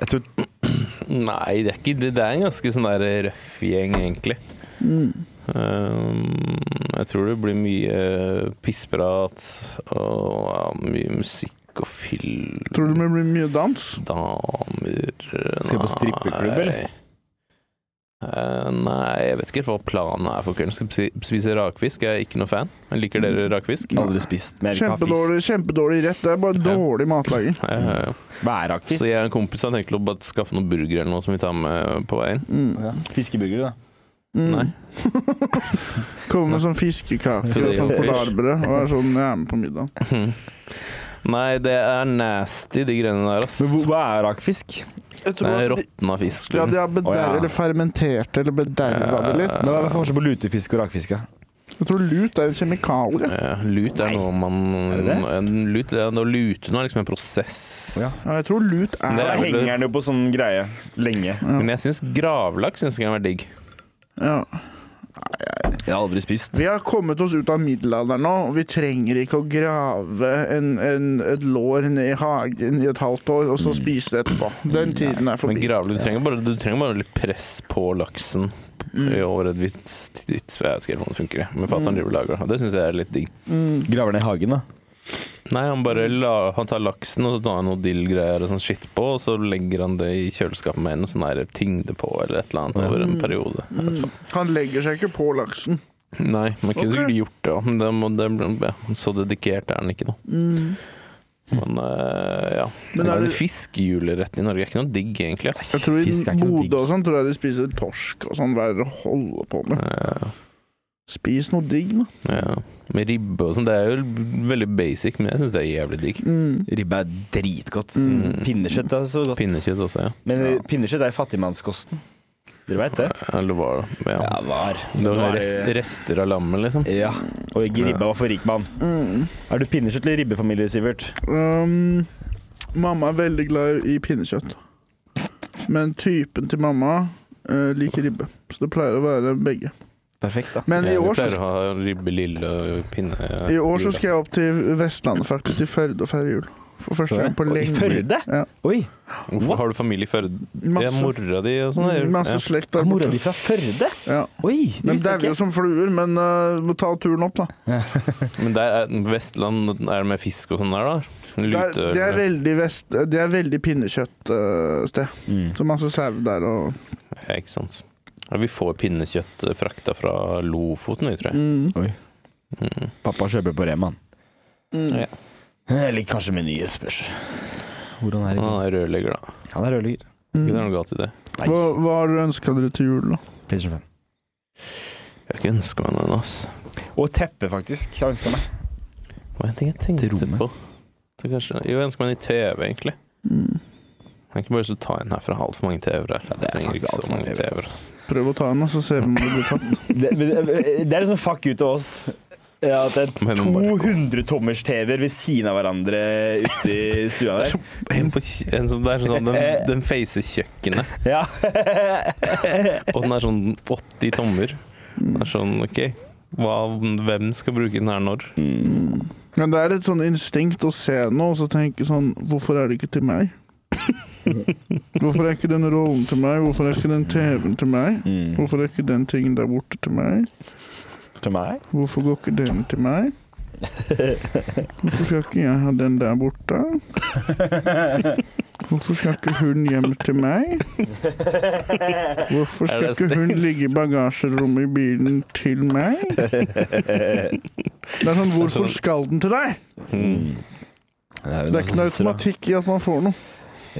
Jeg tror
Nei, det er ikke det. Det er en ganske sånn der røff gjeng, egentlig.
Mm.
Um, jeg tror det blir mye pissprat og ja, mye musikk og film.
Tror du det blir mye dans?
Damer
Skal vi på strippeklubb, eller?
nei. Eh, nei, jeg vet ikke helt hva planen er for kvelden. Skal spi- spise rakfisk. Jeg er ikke noe fan. Jeg liker dere
Mm.
rakfisk?
aldri spist, men jeg vil ikke ha fisk.
Kjempedårlig, kjempedårlig rett. Det er bare
Ja.
dårlig matlaging.
Ja, ja,
Mm.
ja. Eh, Så
Bærrakfisk.
jeg og en kompis har tenkt å bare skaffe noe burger eller noe som vi tar med på veien.
Mm.
Ja. Fiskeburger, da.
Mm.
Nei.
Kommer med sånn fiskekaker og
Filet
sånn
og fisk.
polarbrød og er sånn Jeg er med på middag.
Nei, det er nasty, de greiene der, ass.
Men hvor- hva er rakfisk?
Jeg
Det
tror
er
at de,
råtna fisk.
ja, de har
Å,
bedervet
ja.
eller fermentert eller bederva det litt.
Men Hva er forskjellen på lutefisk og rakfisk? da?
Jeg tror lut er en kjemikalie.
Eh, Lut er
Nei.
noe man
Er det det?
En Lut, det er- det å lute nå er liksom en prosess.
Ja.
Ja, jeg tror lut
Det
er
er
Da
vel-
henger den jo på sånn greie lenge.
Men jeg syns gravlaks synes jeg kan være digg.
ja.
Jeg har aldri spist.
Vi har kommet oss ut av middelalderen nå, og vi trenger ikke å grave en, en, et lår ned i hagen i et halvt år, og så spise det etterpå. Den tiden er
Mm. Men
forbi.
gravlaks, du trenger, bare, du trenger bare litt press på laksen
Mm.
i over et visst tids- Jeg vet ikke helt hvordan det funker, jeg. men fatter'n driver og lager det. Og Det syns jeg er litt digg.
Mm.
Graver den i hagen, da.
Nei, han bare
Mm.
la, han tar laksen og så tar han noe dillgreier og sånn skitt på, og så legger han det i kjøleskapet med en sånn her tyngde på eller et eller annet over
Mm.
en periode. Jeg vet faen.
Han legger seg ikke på laksen.
Nei, man kunne
Ok.
sikkert gjort det òg, men det må, det, ble- ja, så dedikert er den ikke, da. Men eh, ja.
Men
Men
er
en
det-
fiskejulerett i Norge er ikke noe digg, egentlig. Ass.
Jeg tror I
Fisk er ikke noe digg.
Bodø og sånn tror jeg de spiser torsk og sånn. Hva er det dere holder på med?
Eh,
Spis noe digg, da.
ja. Med ribbe og sånn. Det er jo veldig basic, men jeg syns det er jævlig digg.
Mm.
Ribbe er dritgodt.
Mm.
Pinnekjøtt er så godt.
Pinnekjøtt også, ja.
Men
Ja.
eh, pinnekjøtt er fattigmannskosten. Dere veit det?
Eller var det? Ja.
var. eh,
Det
Nå
var
er
rest,
det-
rester av lammet, liksom.
Ja. Og ikke ribba var for rik mann.
Mm.
Er du pinnekjøtt eller ribbefamilie, Sivert?
Um, mamma er veldig glad i pinnekjøtt. Men typen til mamma eh, liker ribbe. Så det pleier å være begge.
Perfekt, da.
Men i
Jeg
år,
pleier
så,
å ha ribbe lille og pinne
i år så skal jeg opp til Vestlandet, faktisk. Til Førde og feire jul. For første gang på
Og I
lenge.
Førde?
Ja.
Oi!
Hvorfor har du familie i Førde? Det er
Masse,
mora di og sånn? er-
masse
Ja.
slekt
Er
der
mora
borte.
di fra Førde?
Ja.
Oi, det
De
visste
dauer
jeg
jo
ikke.
som fluer, men eh, må ta turen opp, da.
Men der er, Vestland er det med fisk og sånn der, da?
Det
Lute
er, det er veldig, vest- eh, det er veldig pinnekjøttsted.
Mm.
Så masse sau der og
Ja, ikke sant. Ja, vi får pinnekjøtt eh, frakta fra Lofoten, vi, tror jeg.
Mm.
Oi.
Mm.
Pappa kjøper på Remaen.
Mm.
Ja.
Jeg liker kanskje menyen, spørs. Hvordan er
Han
det?
er rørlegger, da.
Han er rødligger.
Ikke det
Mm.
er noe galt i det.
Nei,
Hva, hva har dere ønska dere til jul, da?
PlayStation 5.
Jeg har ikke ønska meg noe, ass.
Og teppe, faktisk. Jeg ønska meg.
Hva er det jeg
Til
tenkte
rommet.
på? Så kanskje, jo, jeg ønsker meg en ny TV, egentlig.
Mm.
Jeg har ikke bare lyst til å ta en herfra. Altfor mange TV-er her.
Ja, det er
Trenger
faktisk
ikke så
alt for mange
mange
TV-er,
TV-er, ass.
Prøv å ta en, da, så ser vi om det blir tatt.
Det, det, det er liksom fuck you til oss. Ja, at det er
Men nå må jeg
200 tommers TV-er ved siden av hverandre ute i stua der.
En, på, kj- en som det er sånn, den, den facer kjøkkenet,
Ja.
og den er sånn 80 tommer.
Mm.
Den er sånn, OK, hva, hvem skal bruke den her når?
Mm.
Mm. Men det er et sånn instinkt å se noe og så tenke sånn Hvorfor er det ikke til meg? Hvorfor er ikke den rollen til meg? Hvorfor er ikke den TV-en til meg?
Mm.
Hvorfor er ikke den tingen der borte til meg?
Til meg?
Hvorfor går ikke den til meg? Hvorfor skal ikke jeg ha den der borte? Hvorfor skal ikke hun hjem til meg? Hvorfor
Er
skal
det
ikke hun
stengt?
ligge i bagasjerommet i bilen til meg? Det er sånn, hvorfor skal den til deg? Mm. Det er ikke noe automatikk i at man får noe.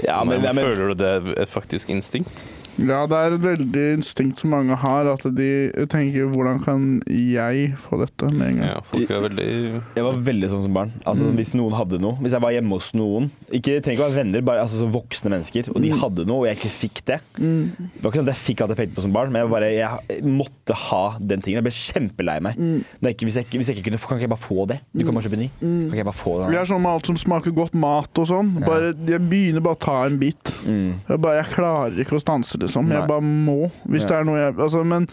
Ja, men,
men,
ja, men
Føler du det er et faktisk instinkt?
Ja, det er et veldig instinkt som mange har, at de tenker 'hvordan kan jeg få dette med en gang'?
Ja, folk er veldig
jeg var veldig sånn som barn. Altså,
Mm.
sånn, Hvis noen hadde noe, hvis jeg var hjemme hos noen Ikke trenger ikke å være venner, bare altså, så voksne mennesker, og de hadde noe, og jeg ikke fikk det.
Mm.
Det var ikke sånn at jeg fikk alt jeg pekte på som barn, men jeg, bare, jeg måtte ha den tingen. Jeg ble kjempelei meg.
Mm.
Når jeg ikke, hvis, jeg, ikke- hvis jeg ikke kunne få, kan ikke jeg bare få det? Du kan bare kjøpe en ny. Kan ikke jeg bare få
Jeg
det?
er sånn med alt som smaker godt mat og sånn.
Ja.
Bare, jeg begynner bare å ta en bit.
Mm.
Jeg, bare, jeg klarer ikke å stanse, liksom.
Nei.
Jeg bare må. Hvis
Ja.
det er noe jeg altså, Men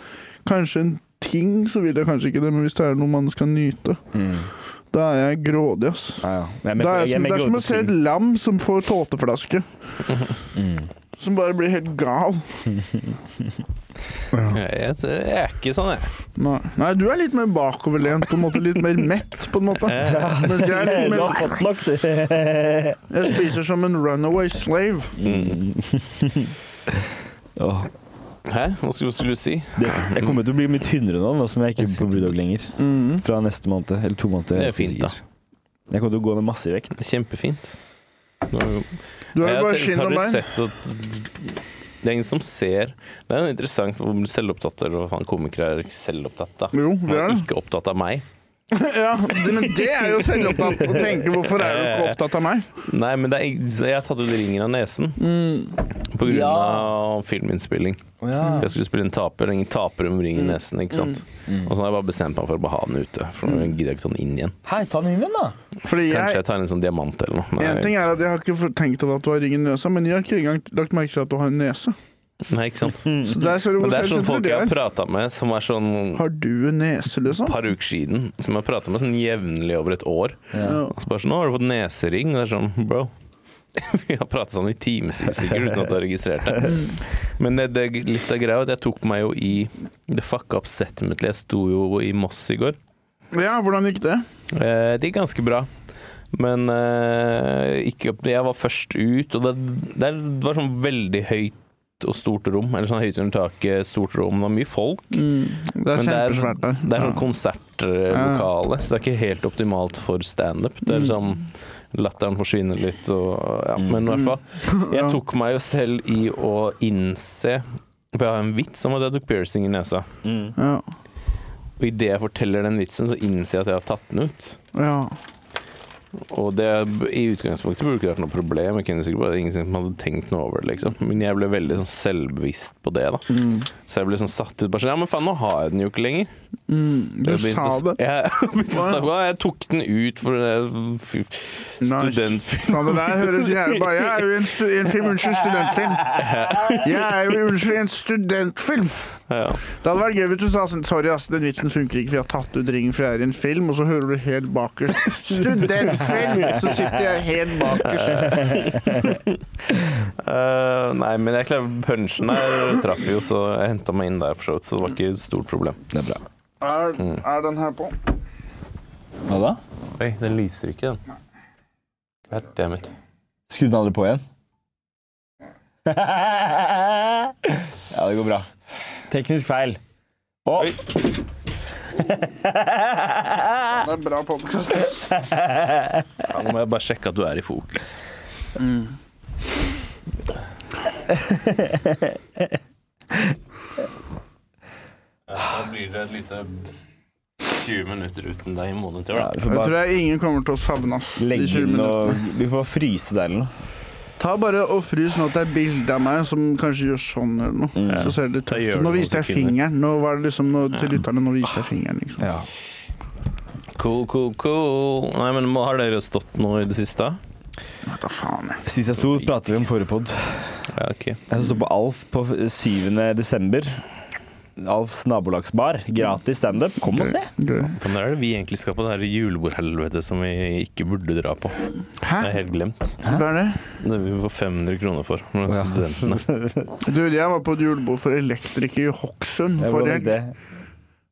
kanskje en ting, så vil jeg kanskje ikke det. Men hvis det er noe man skal nyte,
Mm.
da er jeg grådig, ass.
Ja, ja. Men jeg-
Det er,
jeg- jeg-
som, det
jeg-
er
jeg-
som å se et lam som får tåteflaske.
Mm.
Som bare blir helt gal.
jeg, jeg, jeg er ikke sånn, jeg.
Nei. Nei, du er litt mer bakoverlent, på en måte. Litt mer mett, på en måte. Mens jeg er litt
Du
mer
har fått nok, du.
Jeg spiser som en runaway slave. Mm.
Åh,
Hæ? Hva skulle, skulle du si?
det, jeg kommer til å bli mye tynnere nå, nå som jeg ikke er på Brewdog lenger. Fra neste måned, eller to måneder.
Det
jeg
er fint,
ikke
da.
sikker. Jeg kommer til å gå ned masse i vekt.
Det er kjempefint. Nå,
Du har jo bare
tenkt,
skinn og
Har du
bein.
sett at det er ingen som ser Det er jo interessant hvor selvopptatt eller hva faen komikere er selvopptatt da.
Jo,
Man
det er
er
det.
ikke opptatt av meg.
Ja, det- men det er jo selvopptatt å tenke. Hvorfor er du
Eh,
ikke opptatt av meg?
Nei, men det er, jeg har tatt ut ringer av nesen på grunn
Mm. Ja.
av filminnspilling.
Oh, ja. Mm.
Jeg skulle spille en taper, og ingen taper om ringen i nesen, ikke sant. Og så har jeg bare bestemt meg for å bare ha den ute, for
Mm.
nå gidder jeg ikke ta den inn igjen.
Hei, ta den inn igjen, da.
Fordi
Kanskje
jeg
jeg tar en sånn diamant eller noe.
en ting
Nei,
er at Jeg har ikke for- tenkt over at du har ring i nesa, men jeg har ikke engang lagt merke til at du har en nese.
nei ikke sant.
Så der ser Mm. du hvor
Mm. Men det er sånn
selvsentrert
folk
det
jeg har
er.
prata med, som er sånn
Har du en nese, liksom?
et par uker siden, som jeg har prata med sånn jevnlig over et år.
Ja.
Og så bare sånn 'Nå har du fått nesering.' Og det er sånn, bro. Vi har prata sånn i timevis sikkert uten at du har registrert det. Men det, det er litt av greia er at jeg tok meg jo i det fucka up settet mitt. Jeg sto jo i Moss i går.
ja, hvordan gikk det? Mm.
Eh, det gikk ganske bra. Men eh, ikke, jeg var først ut, og det, det var sånn veldig høyt og stort rom. Eller sånn høyt under taket, stort rom. Det var mye folk.
Det er
Men det er- sånn-
kjempesvært der.
Det er
Ja.
sånn konsertlokale, så det er ikke helt optimalt for standup.
Mm.
Det er liksom Latteren forsvinner litt og ja, Men i hvert
Mm.
fall. Jeg tok meg jo selv i å innse For jeg har en vits om at jeg tok piercing i nesa.
Mm.
Ja.
Og idet jeg forteller den vitsen, så innser jeg at jeg har tatt den ut.
ja.
Og det i utgangspunktet burde ikke vært noe problem. Jeg kunne sikkert bare ingen som hadde tenkt noe over det, liksom. Men jeg ble veldig sånn selvbevisst på det, da.
Mm.
Så jeg ble sånn satt ut. Bare sånn Ja, men faen, nå har jeg den jo ikke lenger.
Mm. Du
Jeg begynte
sa
å-
det.
Jeg, begynte å
Wow.
snakke, «Å, jeg tok den ut for eh, det f-
Nice.
studentfilm.
Sa det der høres jævlig bare Jeg er jo i en, stu, i en film, unnskyld, studentfilm. Jeg er jo unnskyld, i en studentfilm.
Ja.
Det hadde vært gøy hvis du sa sånn Sorry, ass, den vitsen funker ikke, for jeg har tatt ut ringen, for jeg er i en film. Og så hører du helt bakerst Studentfilm! Så sitter jeg helt bakerst.
Eh, nei, men jeg klarer punchen der traff jo, så jeg henta meg inn der for så vidt. Så det var ikke et stort problem. Mm.
Det er bra.
Er, er den her på?
Hva da?
Oi, den lyser ikke, den. Goddammit.
Skru den aldri på igjen. ja, Ja, det går bra. Teknisk feil. Å!
Det er bra podkast.
Ja, nå må jeg bare sjekke at du er i fokus.
Mm.
Da blir det et lite 20 minutter uten deg i monitor.
Ja,
Da.
vi får
Jeg tror
bare
jeg ingen kommer til å savne oss. de
legge
20
inn
minuttene.
og Vi får bare fryse der eller noe.
Ta bare og frys sånn at det er bilde av meg som kanskje gjør sånn eller noe.
Mm.
Så ser det litt
Da
tøft
gjør
ut. Nå
du sånn
viste
noe
jeg
som kvinner.
fingeren. Nå var det liksom nå, til lytterne. Nå viste jeg fingeren, liksom.
Ja.
Cool, cool, cool. Nei, men må- Har dere stått nå i det siste?
Hva faen, jeg.
Sist jeg sto, pratet vi om forrige pod.
Ja, ok.
Jeg sto på Alf på 7. desember. Alfs nabolagsbar. Gratis standup. Kom og se!
Gøy.
Men der er det vi egentlig skal på det her julebordhelvetet som vi ikke burde dra på.
Hæ?
Det er helt glemt.
Hva er det?
Det vi får 500 kroner for. med studentene.
Du, jeg var på et julebord for elektriker i Hokksund
Jeg
forrige
var
helg.
det.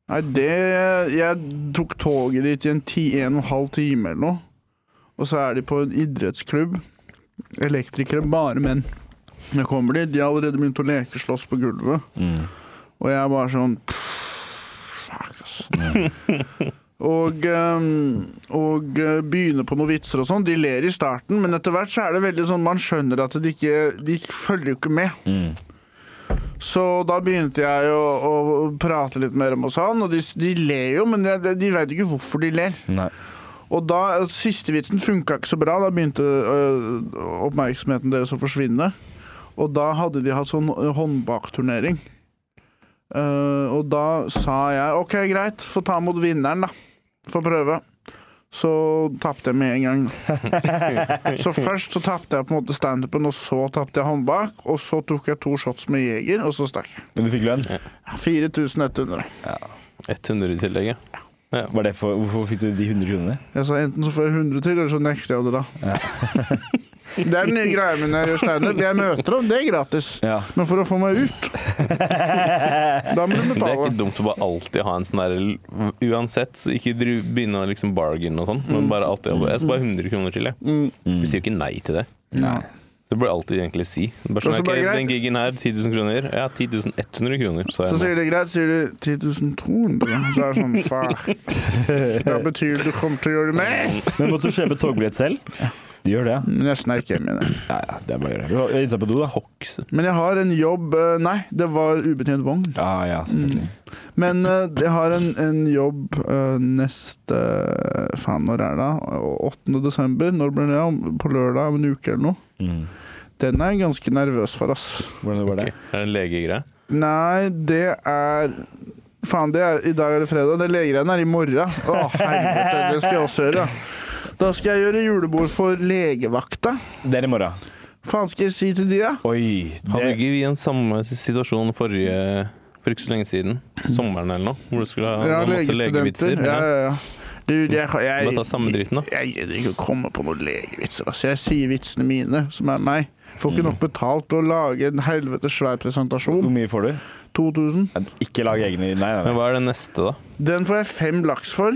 Nei, det Jeg tok toget dit i en, ti, en og en halv time eller noe. Og så er de på en idrettsklubb. Elektrikere, bare menn. Jeg kommer dit, de har allerede begynt å lekeslåss på gulvet.
Mm.
Og jeg er bare sånn Fuck, ass. Og, ehm, og eh, begynner på noen vitser og sånn. De ler i starten, men etter hvert så er det veldig sånn man skjønner at de ikke De følger jo ikke med.
Mm.
Så da begynte jeg å, å prate litt mer om oss han, og de, de ler jo, men de, de veit ikke hvorfor de ler.
Nei.
Og da, siste vitsen funka ikke så bra, da begynte øh, oppmerksomheten deres å forsvinne. Og da hadde de hatt sånn øh, håndbakturnering. Eh, og da sa jeg OK, greit, få ta mot vinneren, da. Få prøve. Så tapte jeg med en gang. så først så tapte jeg på en måte standupen, og så tapte jeg håndbak. Og så tok jeg to shots med jeger, og så stakk jeg.
Men du fikk lønn?
4100.
100 i tillegg, ja.
Var det for, hvorfor fikk du de 100 kronene?
Jeg sa enten så får jeg 100 til, eller så nekter jeg det, da. det er den nye greia mi når jeg gjør standup. Jeg møter opp, det er gratis.
Ja.
Men for å få meg ut, da må du
Det er
betale.
ikke dumt å bare alltid ha en sånn der Uansett, så ikke dru- begynne å liksom bargain og sånn,
Mm.
men bare alltid jobbe. Jeg skal bare ha 100 kroner til, jeg.
Mm.
Vi sier jo ikke nei til det.
Nei.
Så det burde jeg alltid egentlig si. Bare sånn,
Og så
ok,
bare greit.
den gigen her, 10 000 kroner. Ja, 10 100 kroner, så
Så
er jeg med.
sier de greit, sier de 10 200. Så er det sånn, fuck. Da betyr det du kommer til å gjøre det mer.
Men måtte du kjøpe togbillett selv? Du gjør det, ja?
Men jeg snerk hjem igjen. jeg.
Ja, ja, det er bare å gjøre. Du var inntatt på do, da?
Hoks.
Men jeg har en jobb eh, Nei, det var ubetjent vogn.
Ja, ja, selvfølgelig.
Men eh, jeg har en, en jobb eh, neste Faen, når er det? 8. desember? Når blir det? Om- På lørdag om en uke eller noe?
Mm.
Den er jeg ganske nervøs for, ass.
Hvordan var det?
Ok, Er det en legegreie?
Nei, det er Faen, det er, i dag er det fredag. Det legegreiene er i morgen. Å, helvete. Det skal jeg også gjøre. Da skal jeg gjøre julebord for legevakta.
Det er i morgen.
Faen skal jeg si til de, da?
Oi,
Hadde
det,
ikke vi en samme situasjon forrige for ikke så lenge siden, sommeren eller noe, hvor du skulle ha
Ja,
ha masse legevitser.
legestudenter. Ja, ja, ja. Du, jeg, jeg,
Bare ta samme dritten, da.
Jeg gidder ikke å komme på noen legevitser. Altså. Jeg sier vitsene mine, som er meg. Får ikke nok betalt til å lage en helvetes svær
hvor
presentasjon.
mye får du?
2000.
Ikke lag egne Nei, nei,
Men
nei.
hva er det neste, da?
Den får jeg fem laks for.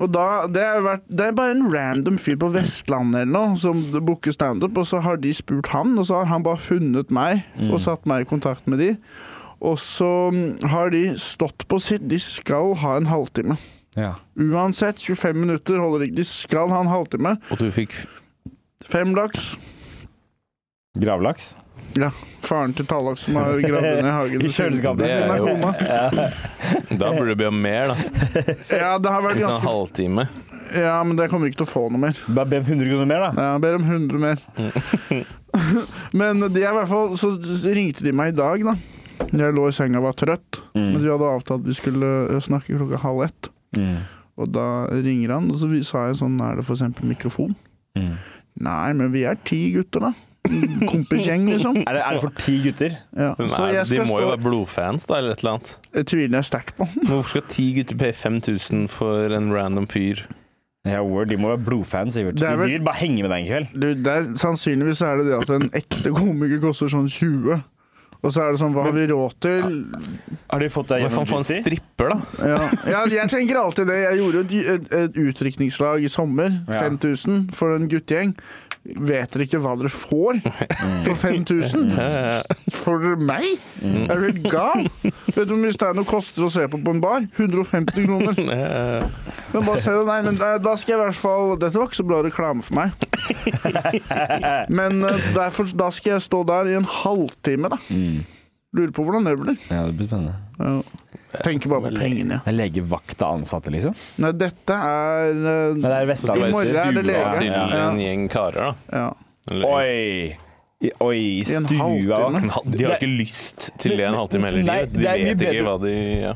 Og da, det, er vært, det er bare en random fyr på Vestlandet eller noe som booker standup, og så har de spurt han, og så har han bare funnet meg og satt meg i kontakt med de. Og så mm, har de stått på sitt. De skal ha en halvtime.
Ja.
Uansett, 25 minutter holder ikke. De skal ha en halvtime.
Og du fikk
Fem laks.
Gravlaks?
Ja. Faren til Tallaks som har gravd ned i hagen.
I
ved siden-
kjøleskapet.
ved siden av
Det er jo-
kona.
Da burde du be om mer, da.
Ja, det har vært
Hvis det er
ganske
en halvtime.
Ja, men jeg kommer ikke til å få noe mer.
Bare be om 100 kroner mer, da.
Ja, Jeg ber om 100 mer.
Mm.
men de er i hvert fall Så ringte de meg i dag, da. Jeg lå i senga og var trøtt,
Mm.
men vi hadde avtalt vi skulle eh, snakke klokka halv ett.
Mm.
Og da ringer han, og så vi- sa jeg sånn Er det for eksempel mikrofon?
Mm.
Nei, men vi er ti gutter, da. Kompisgjeng, liksom.
Er, det, er det for ti gutter?
Ja.
Hvem
Så
er det?
jeg skal
De må jo
stå
være blodfans, da, eller et eller annet.
Det tviler jeg sterkt på.
Men hvorfor skal ti gutter paye 5000 for en random fyr?
Ja, Word, De må være blodfans, Sivert.
Det
De
er vel-
vil bare henge med deg en kveld.
Du, det er, sannsynligvis er det det at en ekte komiker koster sånn 20. Og så er det sånn, hva har vi råd til?
Har de fått deg
Hva faen
gjennom
får en
Juicy?
stripper, da?
Ja. Ja, jeg tenker alltid det. Jeg gjorde et, et, et utdrikningslag i sommer,
Ja.
5000, for en guttegjeng. Vet dere ikke hva dere får for 5000?
Eh,
For meg?
Mm.
Er du helt gal? Vet du hvor mye Steinar koster å se på på en bar? 150 kroner. Men bare se det, nei, men eh, da skal jeg i hvert fall Dette var ikke så bra reklame for meg. Men eh, derfor, da skal jeg stå der i en halvtime, da.
Mm.
Lurer på hvordan det blir.
Ja, det blir spennende.
Ja. Tenker bare på pengene, ja.
Det er legevakt av ansatte, liksom?
Nei, dette er eh, I
Men det er
det er
Vestlandet.
morgen er det
Det
lege.
er til
Ja, ja.
en gjeng karer, da.
Ja.
Eller-
Oi! I- Oi, i
I en
stua.
halvtime.
De har ikke lyst til det en halvtime heller.
Nei,
De, de
det er mye
vet
bedre.
ikke hva de ja.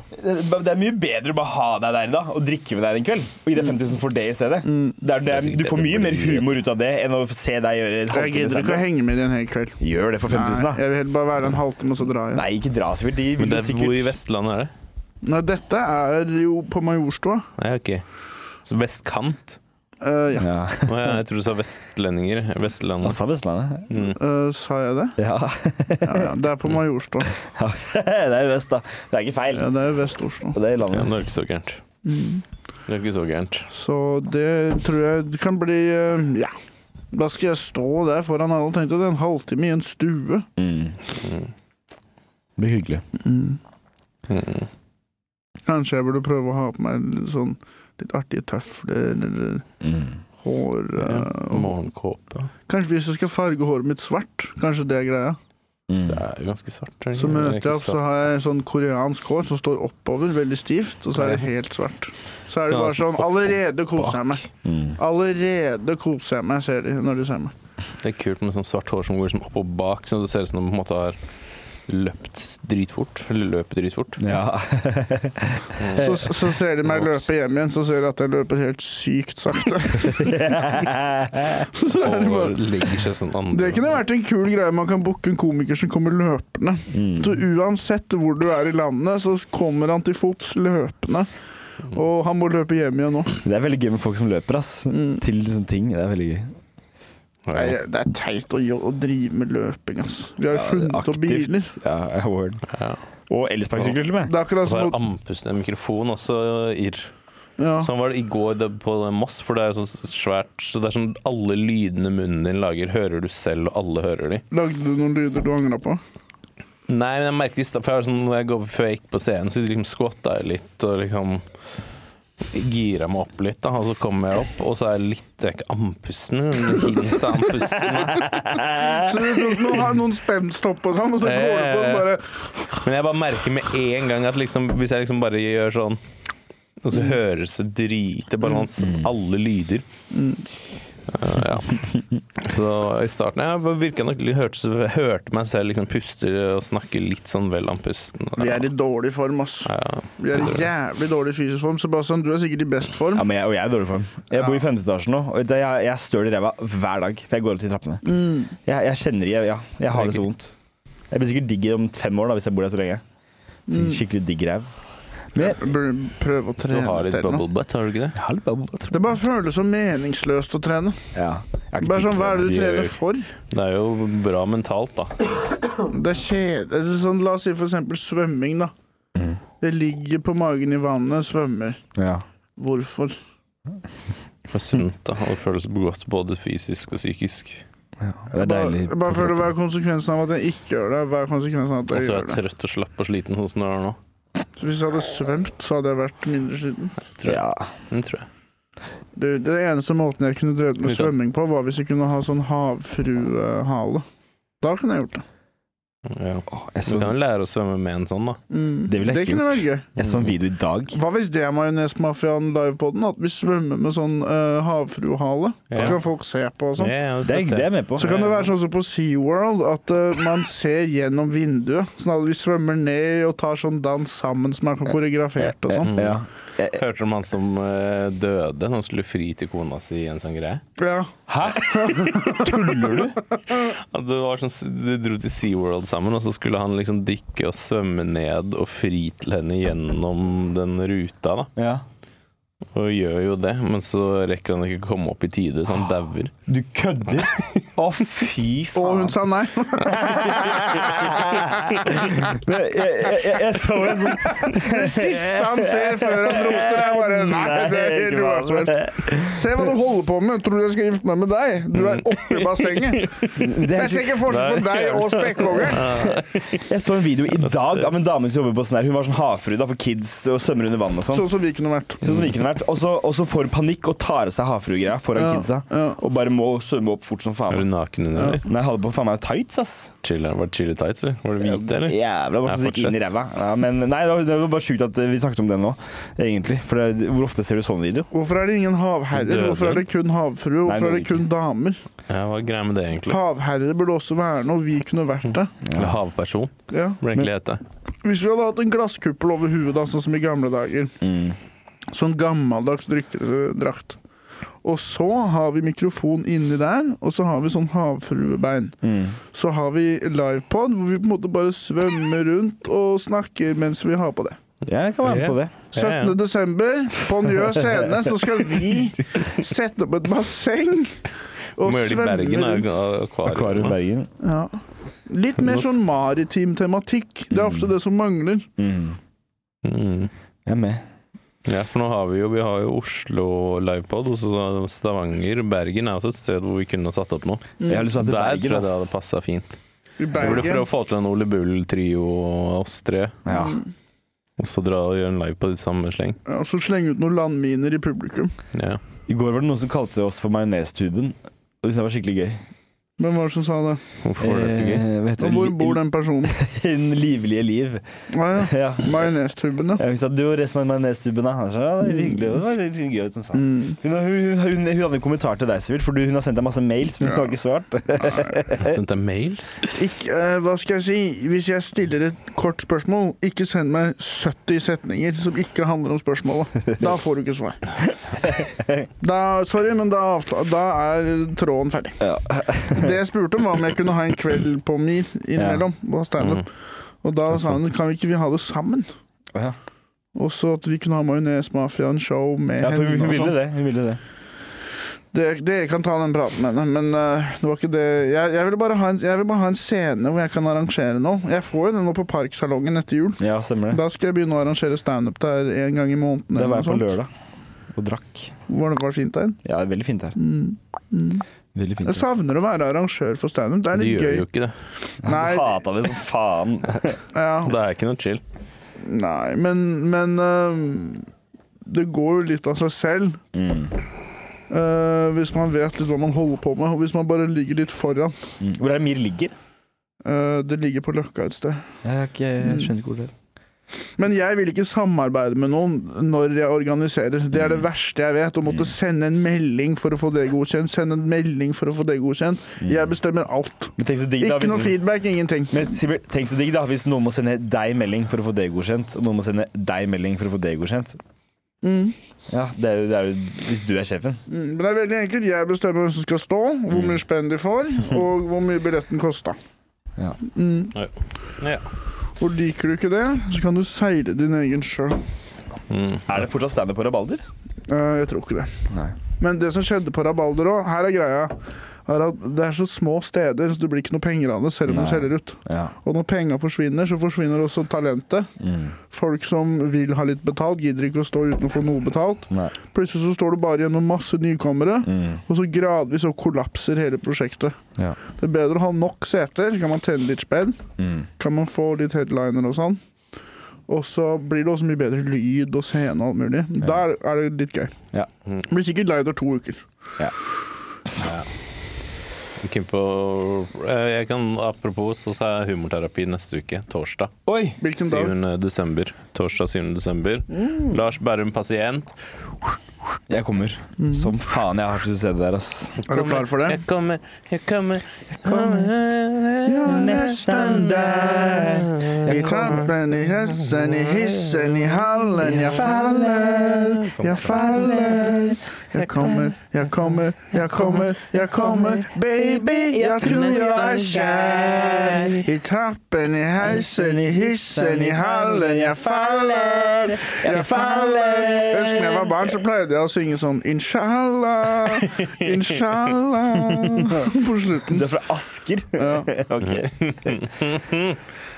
Det er mye bedre å bare ha deg der da og drikke med deg en kveld. Og
Mm.
gi deg 5000 for det i stedet. Det er, det er,
sikkert
du får
bedre
mye
for
mer
livet.
humor ut av det enn å se deg gjøre en
Jeg
halvtime
gidder ikke å
standup.
henge med i en hel kveld.
Gjør det for
Nei,
5000, da.
jeg vil heller bare være der en halvtime og så dra igjen.
Nei, ikke dra, sikkert.
Men
De vil
det, er-
sikkert
hvor i Vestlandet er det?
Nei, dette er jo på Majorstua.
Nei, ok. Så vestkant?
Eh, ja.
Ja.
Å, ja, jeg tror du sa vestlendinger.
Hva
Altså-
Vestlandet. Mm.
sa Vestlandet?
Mm.
Eh, sa jeg det?
Ja.
Ja, ja. Det er på Majorstua.
Det er jo vest, da. Det er ikke feil.
Ja, det er Vest-Oslo.
Og Det er i
Ja,
landet.
det er ikke så gærent. Det er ikke så gærent.
Så det tror jeg det kan bli eh, Ja. Da skal jeg stå der foran alle og tenke at det er en halvtime i en stue.
Mm. Det blir hyggelig.
Mm.
Kanskje jeg burde prøve å ha på meg litt sånn litt artige tøfler eller
Mm.
hår
Ja.
eh, og-
Morgenkåpe.
Kanskje hvis jeg skal farge håret mitt svart, kanskje det er greia.
Mm.
Det er jo ganske svart. er
Så
det ikke? Det er
møter
ikke
jeg opp, så har jeg sånn koreansk hår som står oppover, veldig stivt, og så er det helt svart. Så er det bare sånn Allerede koser jeg meg.
Mm.
Allerede koser jeg meg, ser de når de ser meg.
svart. Det er kult med sånn svart hår som går liksom opp og bak, så det ser ut som de på en måte har løpt dritfort. Eller løper dritfort.
Ja.
Eh,
Så, så ser de meg løpe hjem igjen, så ser de at jeg løper helt sykt sakte. Så er det
Og
bare
legger seg sånn andre
det kunne vært en kul greie man kan booke en komiker som kommer løpende.
Mm.
Mm.
Så uansett hvor du er i landet, så kommer han til fots løpende. Og han må løpe hjem igjen nå.
Det er veldig gøy med folk som løper, ass.
Mm.
Til sånne ting. Det er veldig gøy.
Nei,
Ja,
det er teit å, gjø- å drive med løping, altså. Vi har jo
Ja,
funnet opp
aktivt.
biler.
Ja, jeg har hørt.
ja.
Og elsparkesykkel, til og med.
Det er akkurat
Og så
som
er
å-
andpusten mikrofon også irr.
ja.
Sånn var det i går da- på Moss, for det er jo så svært Så det er sånn alle lydene munnen din lager, hører du selv, og alle hører de.
Lagde du noen lyder du angra på?
Nei, men jeg merker i stad For jeg var sånn, når jeg går før jeg gikk på scenen, så liksom skvatta jeg litt og liksom Gira meg opp litt, da, og så kommer jeg opp, og så er jeg litt Jeg er ikke andpusten, men det er hint av andpusten.
Så du tok noen, har noen spensthopp og sånn, og så går du på og bare
Men jeg bare merker med en gang at liksom, hvis jeg liksom bare gjør sånn og så høres det drit Det er bare hans
Mm.
alle lyder. Uh, ja. Så i starten Jeg virka nok litt hørte, hørte meg selv liksom puste og snakke litt sånn vel andpusten.
Vi er i dårlig form, ass.
Ja.
Vi er i jævlig dårlig fysisk form. Sebastian, du er sikkert i best form.
Ja, men jeg, og jeg er i dårlig form. Jeg bor i femte etasje nå, og jeg, jeg er støl i ræva hver dag. For jeg går opp til trappene. Jeg, jeg kjenner jeg, ja, jeg har det så vondt. Jeg blir sikkert digg om fem år da, hvis jeg bor der så lenge. Skikkelig digg ræv. Men
Bør Prøve å
Du
trene
har litt
til noe.
bubble butt, har du ikke det?
Det bare føles så meningsløst å trene.
ja, jeg har ikke
Bare
tid
sånn,
til
Hva er det du
det.
trener for?
Det er jo bra mentalt, da.
Det er kjedelig. Sånn, la oss si for eksempel svømming, da.
Mm.
Det ligger på magen i vannet, svømmer.
det. Ja.
Hvorfor?
Det er sunt, da. Og det føles godt både fysisk og psykisk.
Det er
Bare,
deilig.
jeg bare føler Hva er konsekvensen av at jeg ikke gjør det? Hva er konsekvensen av at
Og
jeg
så er Altså, jeg
gjør det?
trøtt og slapp og sliten, sånn som du er nå.
Så Hvis jeg hadde svømt, så hadde jeg vært mindre sliten.
Ja.
Det tror jeg.
Du, den eneste måten jeg kunne drevet med
Vi kan-
svømming på, var hvis jeg kunne ha sånn havfruehale. Da kunne jeg gjort det.
Ja.
Åh, jeg,
Så du
så,
Sånn.
kan jo lære å svømme med en sånn, da.
Mm.
Det ville jeg ikke
kunne vært gøy.
jeg så en video i dag.
Hva hvis det er Majonesmafiaen livepoden? At vi svømmer med sånn eh, havfruehale?
Ja.
Så kan folk se på og sånn.
Ja, jeg har jo
Det
sett
er, det er jeg med på.
Så kan det være sånn som på SeaWorld, at eh, man ser gjennom vinduet. Sånn at vi svømmer ned og tar sånn dans sammen som er koreografert og sånn.
Mm.
Ja.
Hørte du om han som eh, døde? Han skulle fri til kona si i en sånn greie.
Ja.
Ja, Det var sånn, de dro til SeaWorld sammen, og så skulle han liksom dykke og svømme ned og fri til henne gjennom den ruta. da
Ja.
og gjør jo det, men så rekker han ikke komme opp i tide, så han dauer.
Du kødder? Å, fy
Og hun
faen.
sa nei.
Men Jeg, jeg, jeg, jeg så en sånn
Det siste han ser før han roter, er bare Nei, det er helt uaktuelt. Se hva du holder på med. Tror du jeg skal gifte meg med deg? Du er oppi bassenget.
det
Jeg
er
ser ikke forskjell på deg og spekkhogger.
Jeg så en video i dag av en dame som jobber på sånn her. Hun var sånn havfrue da, for kids og svømmer under vann og sånn.
Sånn som vi kunne vært.
Sånn som vi kunne vært. Og så, og så får hun panikk og tar av seg havfruegreia foran
Ja,
kidsa.
ja.
Og bare må svømme opp fort som
Er du
faen.
naken under, eller?
Nei, jeg hadde på faen meg tights, ass.
Chili, var det chili tights, eller? Var det hvite, eller?
Jævla, bare
Ja,
som gikk inn i
fortsett.
ræva. Ja, men nei, det var, det var bare sjukt at eh, vi snakket om det nå, egentlig. For det, er- hvor ofte ser du sånn video?
Hvorfor er det ingen havherrer? Hvorfor er det kun havfruer? Hvorfor er det kun damer?
Ja, hva er greia med det, egentlig?
Havherrer burde også være noe vi kunne vært det.
Eller havperson,
Ja.
burde det egentlig hete.
Hvis vi hadde hatt en glasskuppel over huet, da, sånn som i gamle dager.
Mm.
Sånn gammeldags drikkedrakt. Og så har vi mikrofon inni der, og så har vi sånn havfruebein.
Mm.
Så har vi livepod, hvor vi på en måte bare svømmer rundt og snakker mens vi har på det.
Ja, jeg kan være med på det.
17. desember, på Njø scene, så skal vi sette opp et basseng og
Må gjøre det i
svømme
Bergen, er
rundt.
jo akvarium.
Akvarium Bergen.
Ja. Litt mer sånn maritim tematikk. Det er ofte det som mangler.
Mm.
Jeg er med.
Ja, for nå har vi jo, vi har jo Oslo livepod, og så Stavanger. Bergen er også et sted hvor vi kunne ha satt opp noe.
Jeg har lyst til å
Der
dra til
tror jeg det
Bergen,
hadde
ass.
passa fint.
I
Vi burde prøve
Bergen.
å få til en Ole Bull-trio og oss tre,
Ja.
og så dra og gjøre en live på de samme sleng.
Mm. Ja, og så slenge ut noen landminer i publikum.
Ja.
I går var det noen som kalte oss for majonestuben. Og det synes jeg var skikkelig gøy.
Hvem var det som sa det?
Hvorfor var det så gøy?
Eh, hva heter
Og hvor bor den personen?
det? livlige liv.
Ja, ja.
Ja.
Majonestuben, ja.
Jeg husker at du og resten av majonestuben er her. så Ja, det er hyggelig. Det var litt gøy ut, hun sa.
Mm.
Hun, har- hun, hun, hun hadde en kommentar til deg, Sivert, for du, hun har sendt deg masse mails, men hun har ikke svart.
Sendte jeg mails?
Ikke, eh, hva skal jeg si? Hvis jeg stiller et kort spørsmål, ikke send meg 70 setninger som ikke handler om spørsmålet. Da får du ikke svar. Da, sorry, men da, avta- da er tråden ferdig. Det jeg spurte om, var om jeg kunne ha en kveld på Mir innimellom. på
Mm.
standup.
Mm.
Og da sa hun kan vi ikke vi ha det sammen?
Ja.
Og så at vi kunne ha Majones-mafiaen-show med
Ja, for
henne.
hun,
og
hun
sånn.
ville det. Hun ville det.
Dere, dere kan ta den praten med henne, men eh, det var ikke det jeg, jeg, ville bare ha en, jeg vil bare ha en scene hvor jeg kan arrangere noe. Jeg får jo den nå på Parksalongen etter jul.
Ja, stemmer det.
Da skal jeg begynne å arrangere standup der en gang i måneden.
Det
eller noe
var jeg på
sånt.
lørdag og drakk.
Var det var fint der?
Ja, det er veldig fint her.
Mm,
Veldig fint
Jeg
her.
savner å være arrangør for standup. Det er
De
litt
gjør
gøy.
jo ikke det.
Jeg
Nei,
hata det som faen.
ja,
Det er ikke noe chill.
nei, men, men eh, det går jo litt av seg selv.
Mm,
eh, hvis man vet litt hva man holder på med, og hvis man bare ligger litt foran.
Hvor er det Mir ligger?
Eh, det ligger på Løkka et sted.
Jeg, har ikke,
Mm.
jeg skjønner ikke hvor det er.
Men jeg vil ikke samarbeide med noen når jeg organiserer. Det er
Mm.
det verste jeg vet. Å måtte sende en melding for å få det godkjent. Sende en melding for å få det godkjent.
Mm.
Jeg bestemmer alt.
Men tenk så digg, da,
Ikke noe
hvis,
feedback, ingenting.
men Sivert, tenk så digg da hvis noen må sende deg melding for å få det godkjent, og noen må sende deg melding for å få det godkjent.
Mm.
Ja, det er jo, det er jo hvis du er sjefen.
Mm. Men det er veldig enkelt. Jeg bestemmer hvem som skal stå,
Mm.
hvor mye spenn de får, og hvor mye billetten kosta.
Ja.
Mm.
Ja.
Og liker du ikke det, så kan du seile din egen sjø.
Mm.
Er det fortsatt standup på Rabalder?
Eh, jeg tror ikke det.
Nei.
Men det som skjedde på Rabalder òg, her er greia, er at det er så små steder, så det blir ikke noe penger av det selv om du
Nei.
selger ut.
Ja.
Og når penga forsvinner, så forsvinner også talentet.
Mm.
Folk som vil ha litt betalt, gidder ikke å stå uten å få noe betalt.
Nei.
Plutselig så står du bare igjen med masse nykommere,
Mm.
og så gradvis så kollapser hele prosjektet.
Ja.
Det er bedre å ha nok seter, så kan man tjene litt spenn.
Mm.
Kan man få litt headliner og sånn. Og så blir det også mye bedre lyd og scene og alt mulig. Der er det litt gøy.
Ja.
Mm.
Blir sikkert lei etter to uker.
Keen på Eh, Jeg kan, apropos, så skal jeg humorterapi neste uke, torsdag.
Oi!
Hvilken dag?
7. desember. Torsdag 7. desember. Lars Berrum, pasient.
Jeg kommer.
Mm.
Som faen, jeg har ikke lyst til å se det der, ass.
Mhm. Er du klar for det?
Jeg kommer, jeg kommer, jeg kommer
nesten der. I trampen, i hessen, i hissen, i hallen. Jeg faller, jeg faller, Jeg kommer, jeg kommer, jeg kommer, jeg kommer. Baby, jeg tror jeg er kjær. I trappen, i heisen, i hissen, i hallen. Jeg faller, jeg faller. Jeg husker da jeg var barn, så pleide jeg å synge sånn inshallah, inshallah på slutten.
Du er fra Asker?
Ja.
ok.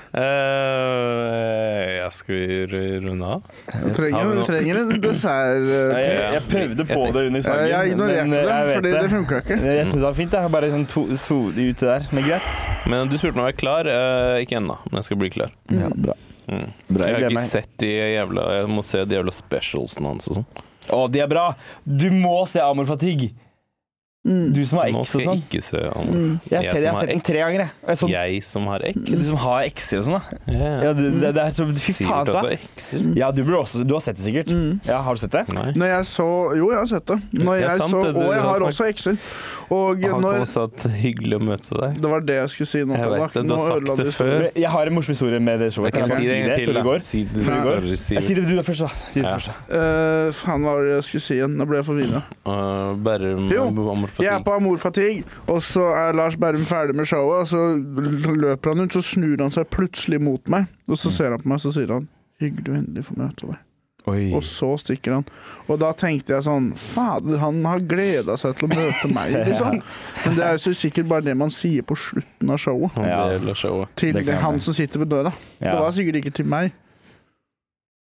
Eh, jeg skal vi ru- runde av?
Jeg trenger, jeg trenger en dessert. eh.
Jeg, jeg prøvde på det under sangen.
Jeg jeg ignorerte
men, eh, jeg
det,
vet
fordi det funka ikke.
Jeg syns det var fint. Jeg. Bare sånn to, so, ute der. Men greit.
Men du spurte om jeg var klar. Eh, ikke ennå, men jeg skal bli klar.
Ja, bra.
Mm.
bra.
Jeg
Jeg
har
gleder
ikke
meg.
sett de jævla Jeg må se de jævla specialsene hans og sånn.
Å, de er bra! Du må se Amor Fatigue!
Mm.
Du som har
Nå
X
skal
og
jeg
sånn.
ikke se han.
Jeg, ser,
som
jeg har
har
sett den
X.
tre ganger, jeg. Og jeg så,
Jeg som har X.
Du som har X-er og sånn, da.
Ja.
Ja, du, det, det er så, fy faen,
Sivert
vet du hva?
også X-er.
Ja, du, burde også, du har sett det sikkert. Ja, Har du sett det?
Nei.
Mm. Når jeg så Jo, jeg har sett det. Når
Det er
jeg
sant,
så,
det du
og jeg
har
har
snakket-
også ekser. Og
Han kom
når
og sa at hyggelig å møte deg.
Det var det jeg skulle si nå.
Jeg
Tallak.
vet det, du
Nå
har
ødela
sagt det
du-
før.
Men Jeg har en morsom historie med det showet.
Jeg kan
jeg
si det en gang
før
til.
det går?
da. Si det,
Nei.
sorry, si
Jeg
det.
sier det du da først, da. Si det
Ja.
først, da.
Eh, faen, hva var det jeg skulle si igjen? Nå ble jeg forvirra.
Uh, Bærum
Jo,
Amor Fatigue.
Jeg er på Amorfatigue, og så er Lars Berrum ferdig med showet. Og så l- løper han ut, så snur han seg plutselig mot meg. Og
Mm.
så ser han på meg, så sier han 'Hyggelig og endelig få møte deg'.
Mm.
Og så stikker han. Og da tenkte jeg sånn Fader, han har gleda seg til å møte meg, liksom. Men det er jo så sikkert bare det man sier på slutten av showet.
Han
Ja.
del av showet.
Til
Det kan
han
jeg.
som sitter ved døra.
Ja.
Det var sikkert ikke til meg.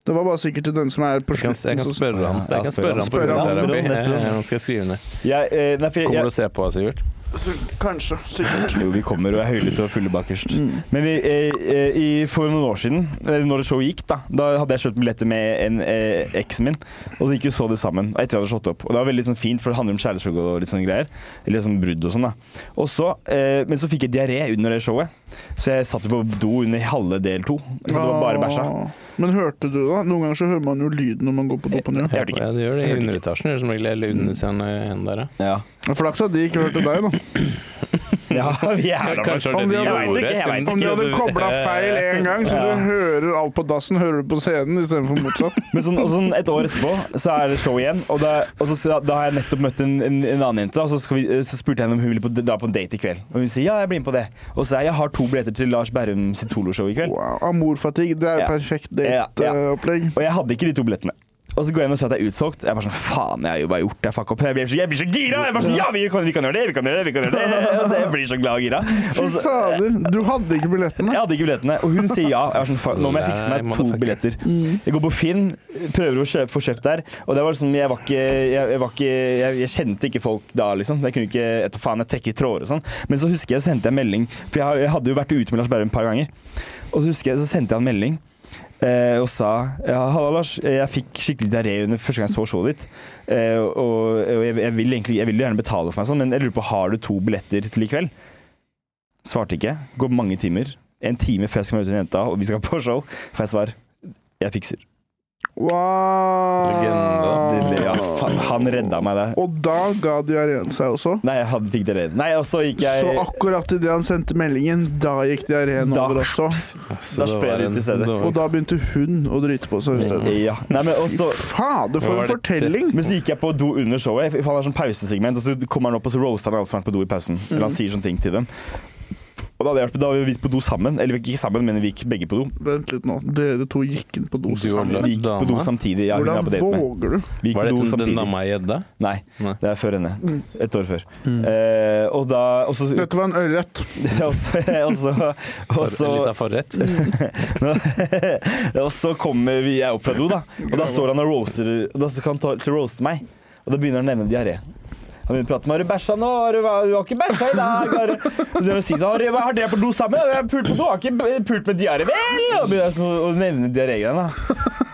Det var bare sikkert til den som er på
Jeg kan,
slutten.
jeg kan
som-
spørre han.
Ja,
Jeg kan
spør
spørre
han,
han på
spør han,
grunnen der
spør
oppe.
han, det spør han.
Eh, Nå skal jeg skrive ned.
Jeg, eh, nei, for jeg,
Kommer
jeg,
du og ser på, altså, Sivert?
Så, kanskje. Sikkert. Mm.
Jo, vi kommer og er høylytte og fulle bakerst. Men i, eh, i, for noen år siden, eh, når det showet gikk, da Da hadde jeg kjøpt billetter med en eh, eksen min. Og så gikk vi og så det sammen etter jeg hadde slått opp. Og det var veldig sånn, fint, for det handler om kjærlighetssorg og litt sånne greier. Eller sånn brudd og sånn, da. Og så, eh, men så fikk jeg diaré under det showet. Så jeg satt jo på do under halve del to. Så Altså, det var bare bæsja.
Åh. Men hørte du da? Noen ganger så hører man jo lyden når man går på do på ny.
Jeg hørte ikke.
Ja, det gjør det i
Jeg hørte ikke.
underetasjen. Gjør det som regel eller undersiden en der, ja.
Ja.
Flaks at de ikke hørte deg, da.
ja, vi er der,
Kanskje
faktisk.
det
Om de
de
hadde-
gjorde,
jeg vet
siden
Om de
ikke
hadde
du-
kobla feil en gang, så du
Ja.
hører alt på dassen, hører du på scenen istedenfor motsatt.
Men sånn, og sånn et år etterpå så er det show igjen, og da, og så, da har jeg nettopp møtt en, en, en annen jente. Og så, skal vi, så spurte jeg henne om hun ville på, dra på en date i kveld. Og hun sier ja, jeg blir med på det. Og så sier jeg jeg har to billetter til Lars Berrum sitt soloshow i kveld.
Wow. Amorfatigue, det er jo
Ja.
perfekt eh,
Ja, ja.
dateopplegg.
Og jeg hadde ikke de to billettene. Og så går jeg inn og ser at det er utsolgt. Jeg er bare sånn, faen, jeg har jo bare gjort det, fuck opp. Jeg blir så, jeg blir så gira! Jeg er bare sånn, ja, vi kan, vi kan gjøre det, vi kan gjøre det, vi kan gjøre det. Og så jeg blir så glad og gira.
Fy
Og så,
fader, du hadde ikke billettene.
Jeg hadde ikke billettene, og hun sier ja. Jeg var sånn, "Fuck, nå må jeg fikse
Nei,
meg to
motherfucker.
billetter. Jeg går på Finn, prøver å kjøpe, få kjøpt der, og det var liksom, jeg var ikke, jeg, jeg, var ikke jeg, jeg kjente ikke folk da, liksom. Jeg kunne ikke etter faen jeg trekke i tråder og sånn. Men så husker jeg, så sendte jeg en melding, for jeg, har- jeg hadde jo vært ute med Lars Berrum et par ganger. Og så husker jeg, så sendte jeg en melding. eh, og sa ja, 'Halla, Lars. Jeg fikk skikkelig diaré under første gang jeg så showet ditt.' Eh, og og jeg, jeg vil egentlig Jeg vil jo gjerne betale for meg, og sånn, men jeg lurer på har du to billetter til i kveld? Svarte ikke. Går mange timer. En time før jeg skal møte den jenta, og vi skal på show, får jeg svar. Jeg fikser.
Wow.
Det- Ja, faen, han redda meg der.
Og da ga diareen seg også.
Nei, jeg hadde fikk det Nei, og så gikk jeg
Så akkurat idet han sendte meldingen, da gikk diareen
Da-
over også.
Så
Da
det
spør jeg
var
litt
en-
i stedet.
det var-
Og da begynte hun å drite på seg i stedet.
Ja. Nei, men, og så,
Fader, for
Hva var
en
det-
fortelling!
men så gikk jeg på do under showet. For han har sånn pausesegment, og så kommer han opp og så roaster han alle som har vært på do i pausen.
Mm.
Eller han sier sånne ting til dem. Og da, hadde jeg vært- da var vi på do sammen. Eller vi gikk ikke sammen, men vi gikk begge på do.
Vent litt nå. Dere to gikk inn på do
Du og
sammen.
Vi gikk på do
Dama?
samtidig. Ja, hun er
Hvordan
på date med.
våger du?
Vi gikk
Var
på do
det til den
samtidig.
dama i gjedda?
Nei,
Nei.
det er før henne. Et år før.
Mm.
Eh, og da og så,
Dette var en ørret.
og så, og så, og
For, litt
så,
av forrett?
Mm. og så kommer vi, jeg opp fra do, da. Og da står han og roaster og Da skal han ta, til å roaste meg. Og da begynner han å nevne diaré. Han begynner å prate med 'Har du bæsja nå? Har du, har du har ikke bæsja i dag?' Har du, og så begynner han å si sånn 'Har, dere- har dere vært på do sammen? Har dere pult på do? Har ikke b- pult med diaré, vel?' Og begynner sånn, å- å nevne diarégreiene, da.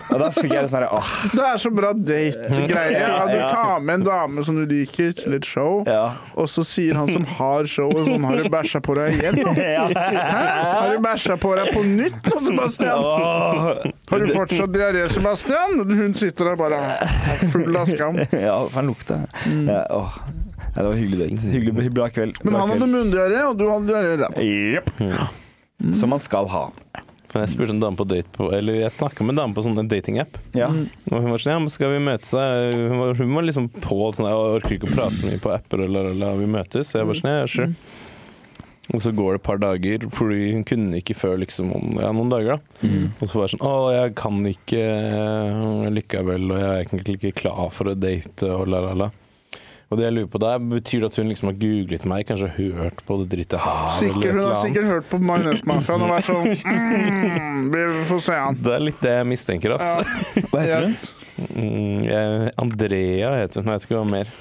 Og da fikk jeg sånn herre Åh.
Det er så bra date-greie. Ja, du tar med en dame som du liker, til et show,
Ja.
og så sier han som har showet, sånn Har du bæsja på deg igjen?
ja.
Hæ? Har du bæsja på deg på nytt, nå, Sebastian?
Åh.
Har du fortsatt diaré, Sebastian? Hun sitter der bare full av skam.
ja for han lukta. Ja, åh. Ja, det var en hyggelig date. Hyggelig, bra kveld.
Mm. Men
Bra
han hadde
kveld.
munndiaré, og du hadde diaré i ræva.
Jepp. Som man skal ha.
For jeg spurte en dame på date på Eller jeg snakka med en dame på sånn en datingapp.
Ja.
Mm.
Og hun var sånn Ja, men skal vi møtes? da?» Hun var, hun var liksom på sånn Jeg orker ikke å prate så mye på apper, eller, eller vi møtes. Så jeg var sånn Ja, sure.
Mm.
Og så går det et par dager, fordi hun kunne ikke før liksom om ja, noen dager. da.
Mm.
Og så var jeg sånn Å, jeg kan ikke eh, likevel, og jeg er egentlig ikke klar for å date, og la, la, la. Og det jeg lurer på der, betyr det at hun liksom har googlet meg, kanskje hørt på det drittet her,
Sikkert, hun har sikkert hørt på Majonesmafiaen og vært sånn mm, Vi får se han.
Det er litt det jeg mistenker, ass.
Ja. Ja.
Hva heter hun?
Mm, jeg, Andrea heter hun, jeg vet ikke hva mer.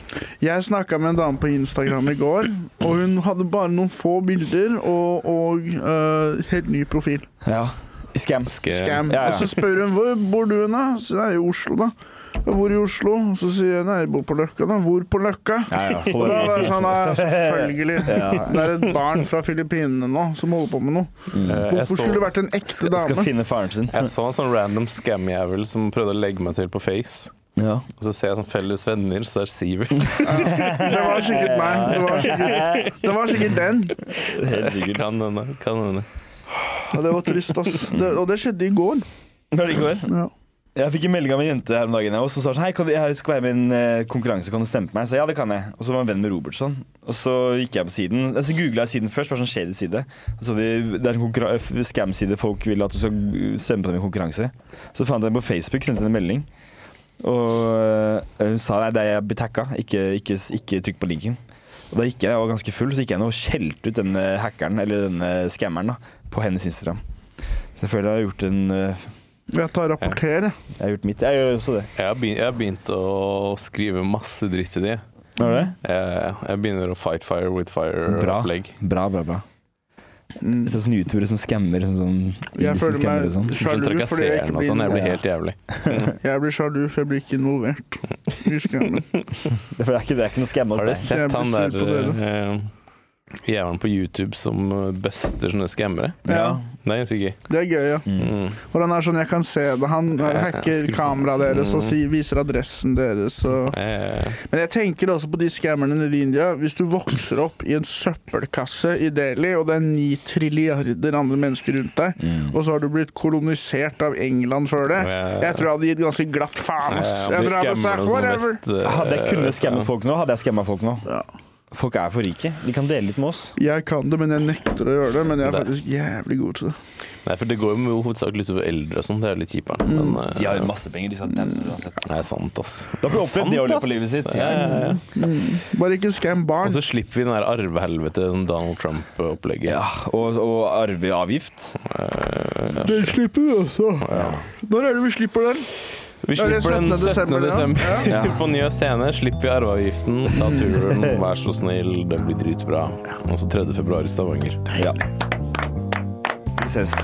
Jeg snakka med en dame på Instagram i går, og hun hadde bare noen få bilder og, og eh, helt ny profil.
Ja. Scam.
Skal-
Scam.
Ja, ja.
Og så spør hun hvor bor du hen, da? Så jeg er i Oslo, da. «Ja, Hvor i Oslo? Så sier jeg nei, jeg bor på Løkka, da. Hvor på Løkka?
Ja, ja.
Og
hold
da
i.
var det sånn, ja, selvfølgelig. Det er et barn fra Filippinene nå som holder på med noe.
Eh, jeg
Hvorfor
så-
skulle det vært en ekte
Mm. Skal
dame?
finne faren sin.
Jeg så en sånn random scam-jævel som prøvde å legge meg til på Face.
Ja.
Og så ser jeg sånn felles venner, så det er Sivert.
Det var sikkert meg. Det var sikkert, det var sikkert den.
Helt sikkert.
Kan hende. Kan hende.
Ja, det var trist, ass. Det, og det skjedde i går.
Når det går.
Ja.
Jeg fikk en melding av en jente her om dagen jeg også, som sa sånn Hei, kan du, jeg skal være med i en eh, konkurranse, kan du stemme på meg? Jeg sa ja, det kan jeg. Og så var jeg venn med Robertson. Og så gikk jeg på siden. Så googla jeg siden først, det var sånn shady side. Og Så de, det er sånn konkurra- f- scam-side folk vil at du skal stemme på dem i konkurranse. Så fant jeg den på Facebook, sendte henne en melding. Og eh, hun sa nei, det er jeg blir tagga, ikke, ikke, ikke trykk på linken. Og da gikk jeg, jeg var ganske full, så gikk jeg ned og skjelte ut denne hackeren, eller denne scammeren, da, på hennes Instagram. Så jeg føler jeg har gjort en eh,
Jeg tar rapporter, jeg.
Jeg har gjort mitt. Jeg gjør jo også det.
Jeg har begynt, jeg har begynt å skrive masse dritt til de.
Har du det?
Jeg, jeg begynner å fight fire with fire-opplegg.
Bra, bra, bra.
Mm.
Det er sånn youtubere som skammer. Sånn, sånn,
Jeg føler
skammer,
meg
og sånn.
Som
sjalu fordi jeg
trakasserer den
ikke
og sånn. Jeg
blir
blir helt jævlig.
Jeg blir sjalu, for jeg blir ikke involvert. i skammen.
Det er ikke, det er ikke noe skamme
Har du
hos deg.
sett
Jeg blir
han
sur
der
på
eh, jævelen på YouTube som eh, buster sånne skammere?
Ja,
Det er ganske gøy.
det er gøy, ja.
Mm.
Og han er sånn, jeg kan se det. Han eh,
Ja,
hacker
skru på.
kameraet deres og
Mm.
si, viser adressen deres. Og...
Eh,
Men jeg tenker også på de skammerne nede i India. Hvis du vokser opp i en søppelkasse i Delhi, og det er ni trilliarder andre mennesker rundt deg,
Mm.
og så har du blitt kolonisert av England før det
Mm. Ja.
Jeg tror jeg hadde gitt ganske glatt faen. ass.
eh,
Jeg
de
tror jeg hadde
skammer
sagt
oss noe
whatever.
mest, eh,
Hadde jeg kunnet skamme
sånn.
folk nå, hadde jeg skamma folk nå.
Ja.
Folk er for rike. De kan dele litt med oss.
Jeg kan det, men jeg nekter å gjøre det. Men jeg er
Det-
faktisk jævlig god til det.
Nei, for det går jo hovedsakelig utover eldre og sånn. Det er jo litt kjipere.
Mm.
Men eh,
masse penger. De skal dæmme som uansett.
det er sant, ass.
Da får du opplevd det å leve på livet sitt.
Ja, ja, ja.
Bare ikke skam barn.
Og så slipper vi den der arvehelvete som Donald Trump-opplegget.
Ja, og, og arveavgift.
Eh,
Den slipper vi også. Når er det vi slipper den?
Vi
Ja, det er
slipper den
17.
17.
desember, ja.
desember.
Ja.
På Njø scene slipper vi arveavgiften, ta turen, vær så snill, det blir dritbra. Og så 3. februar i Stavanger.
Ja. Vi ses.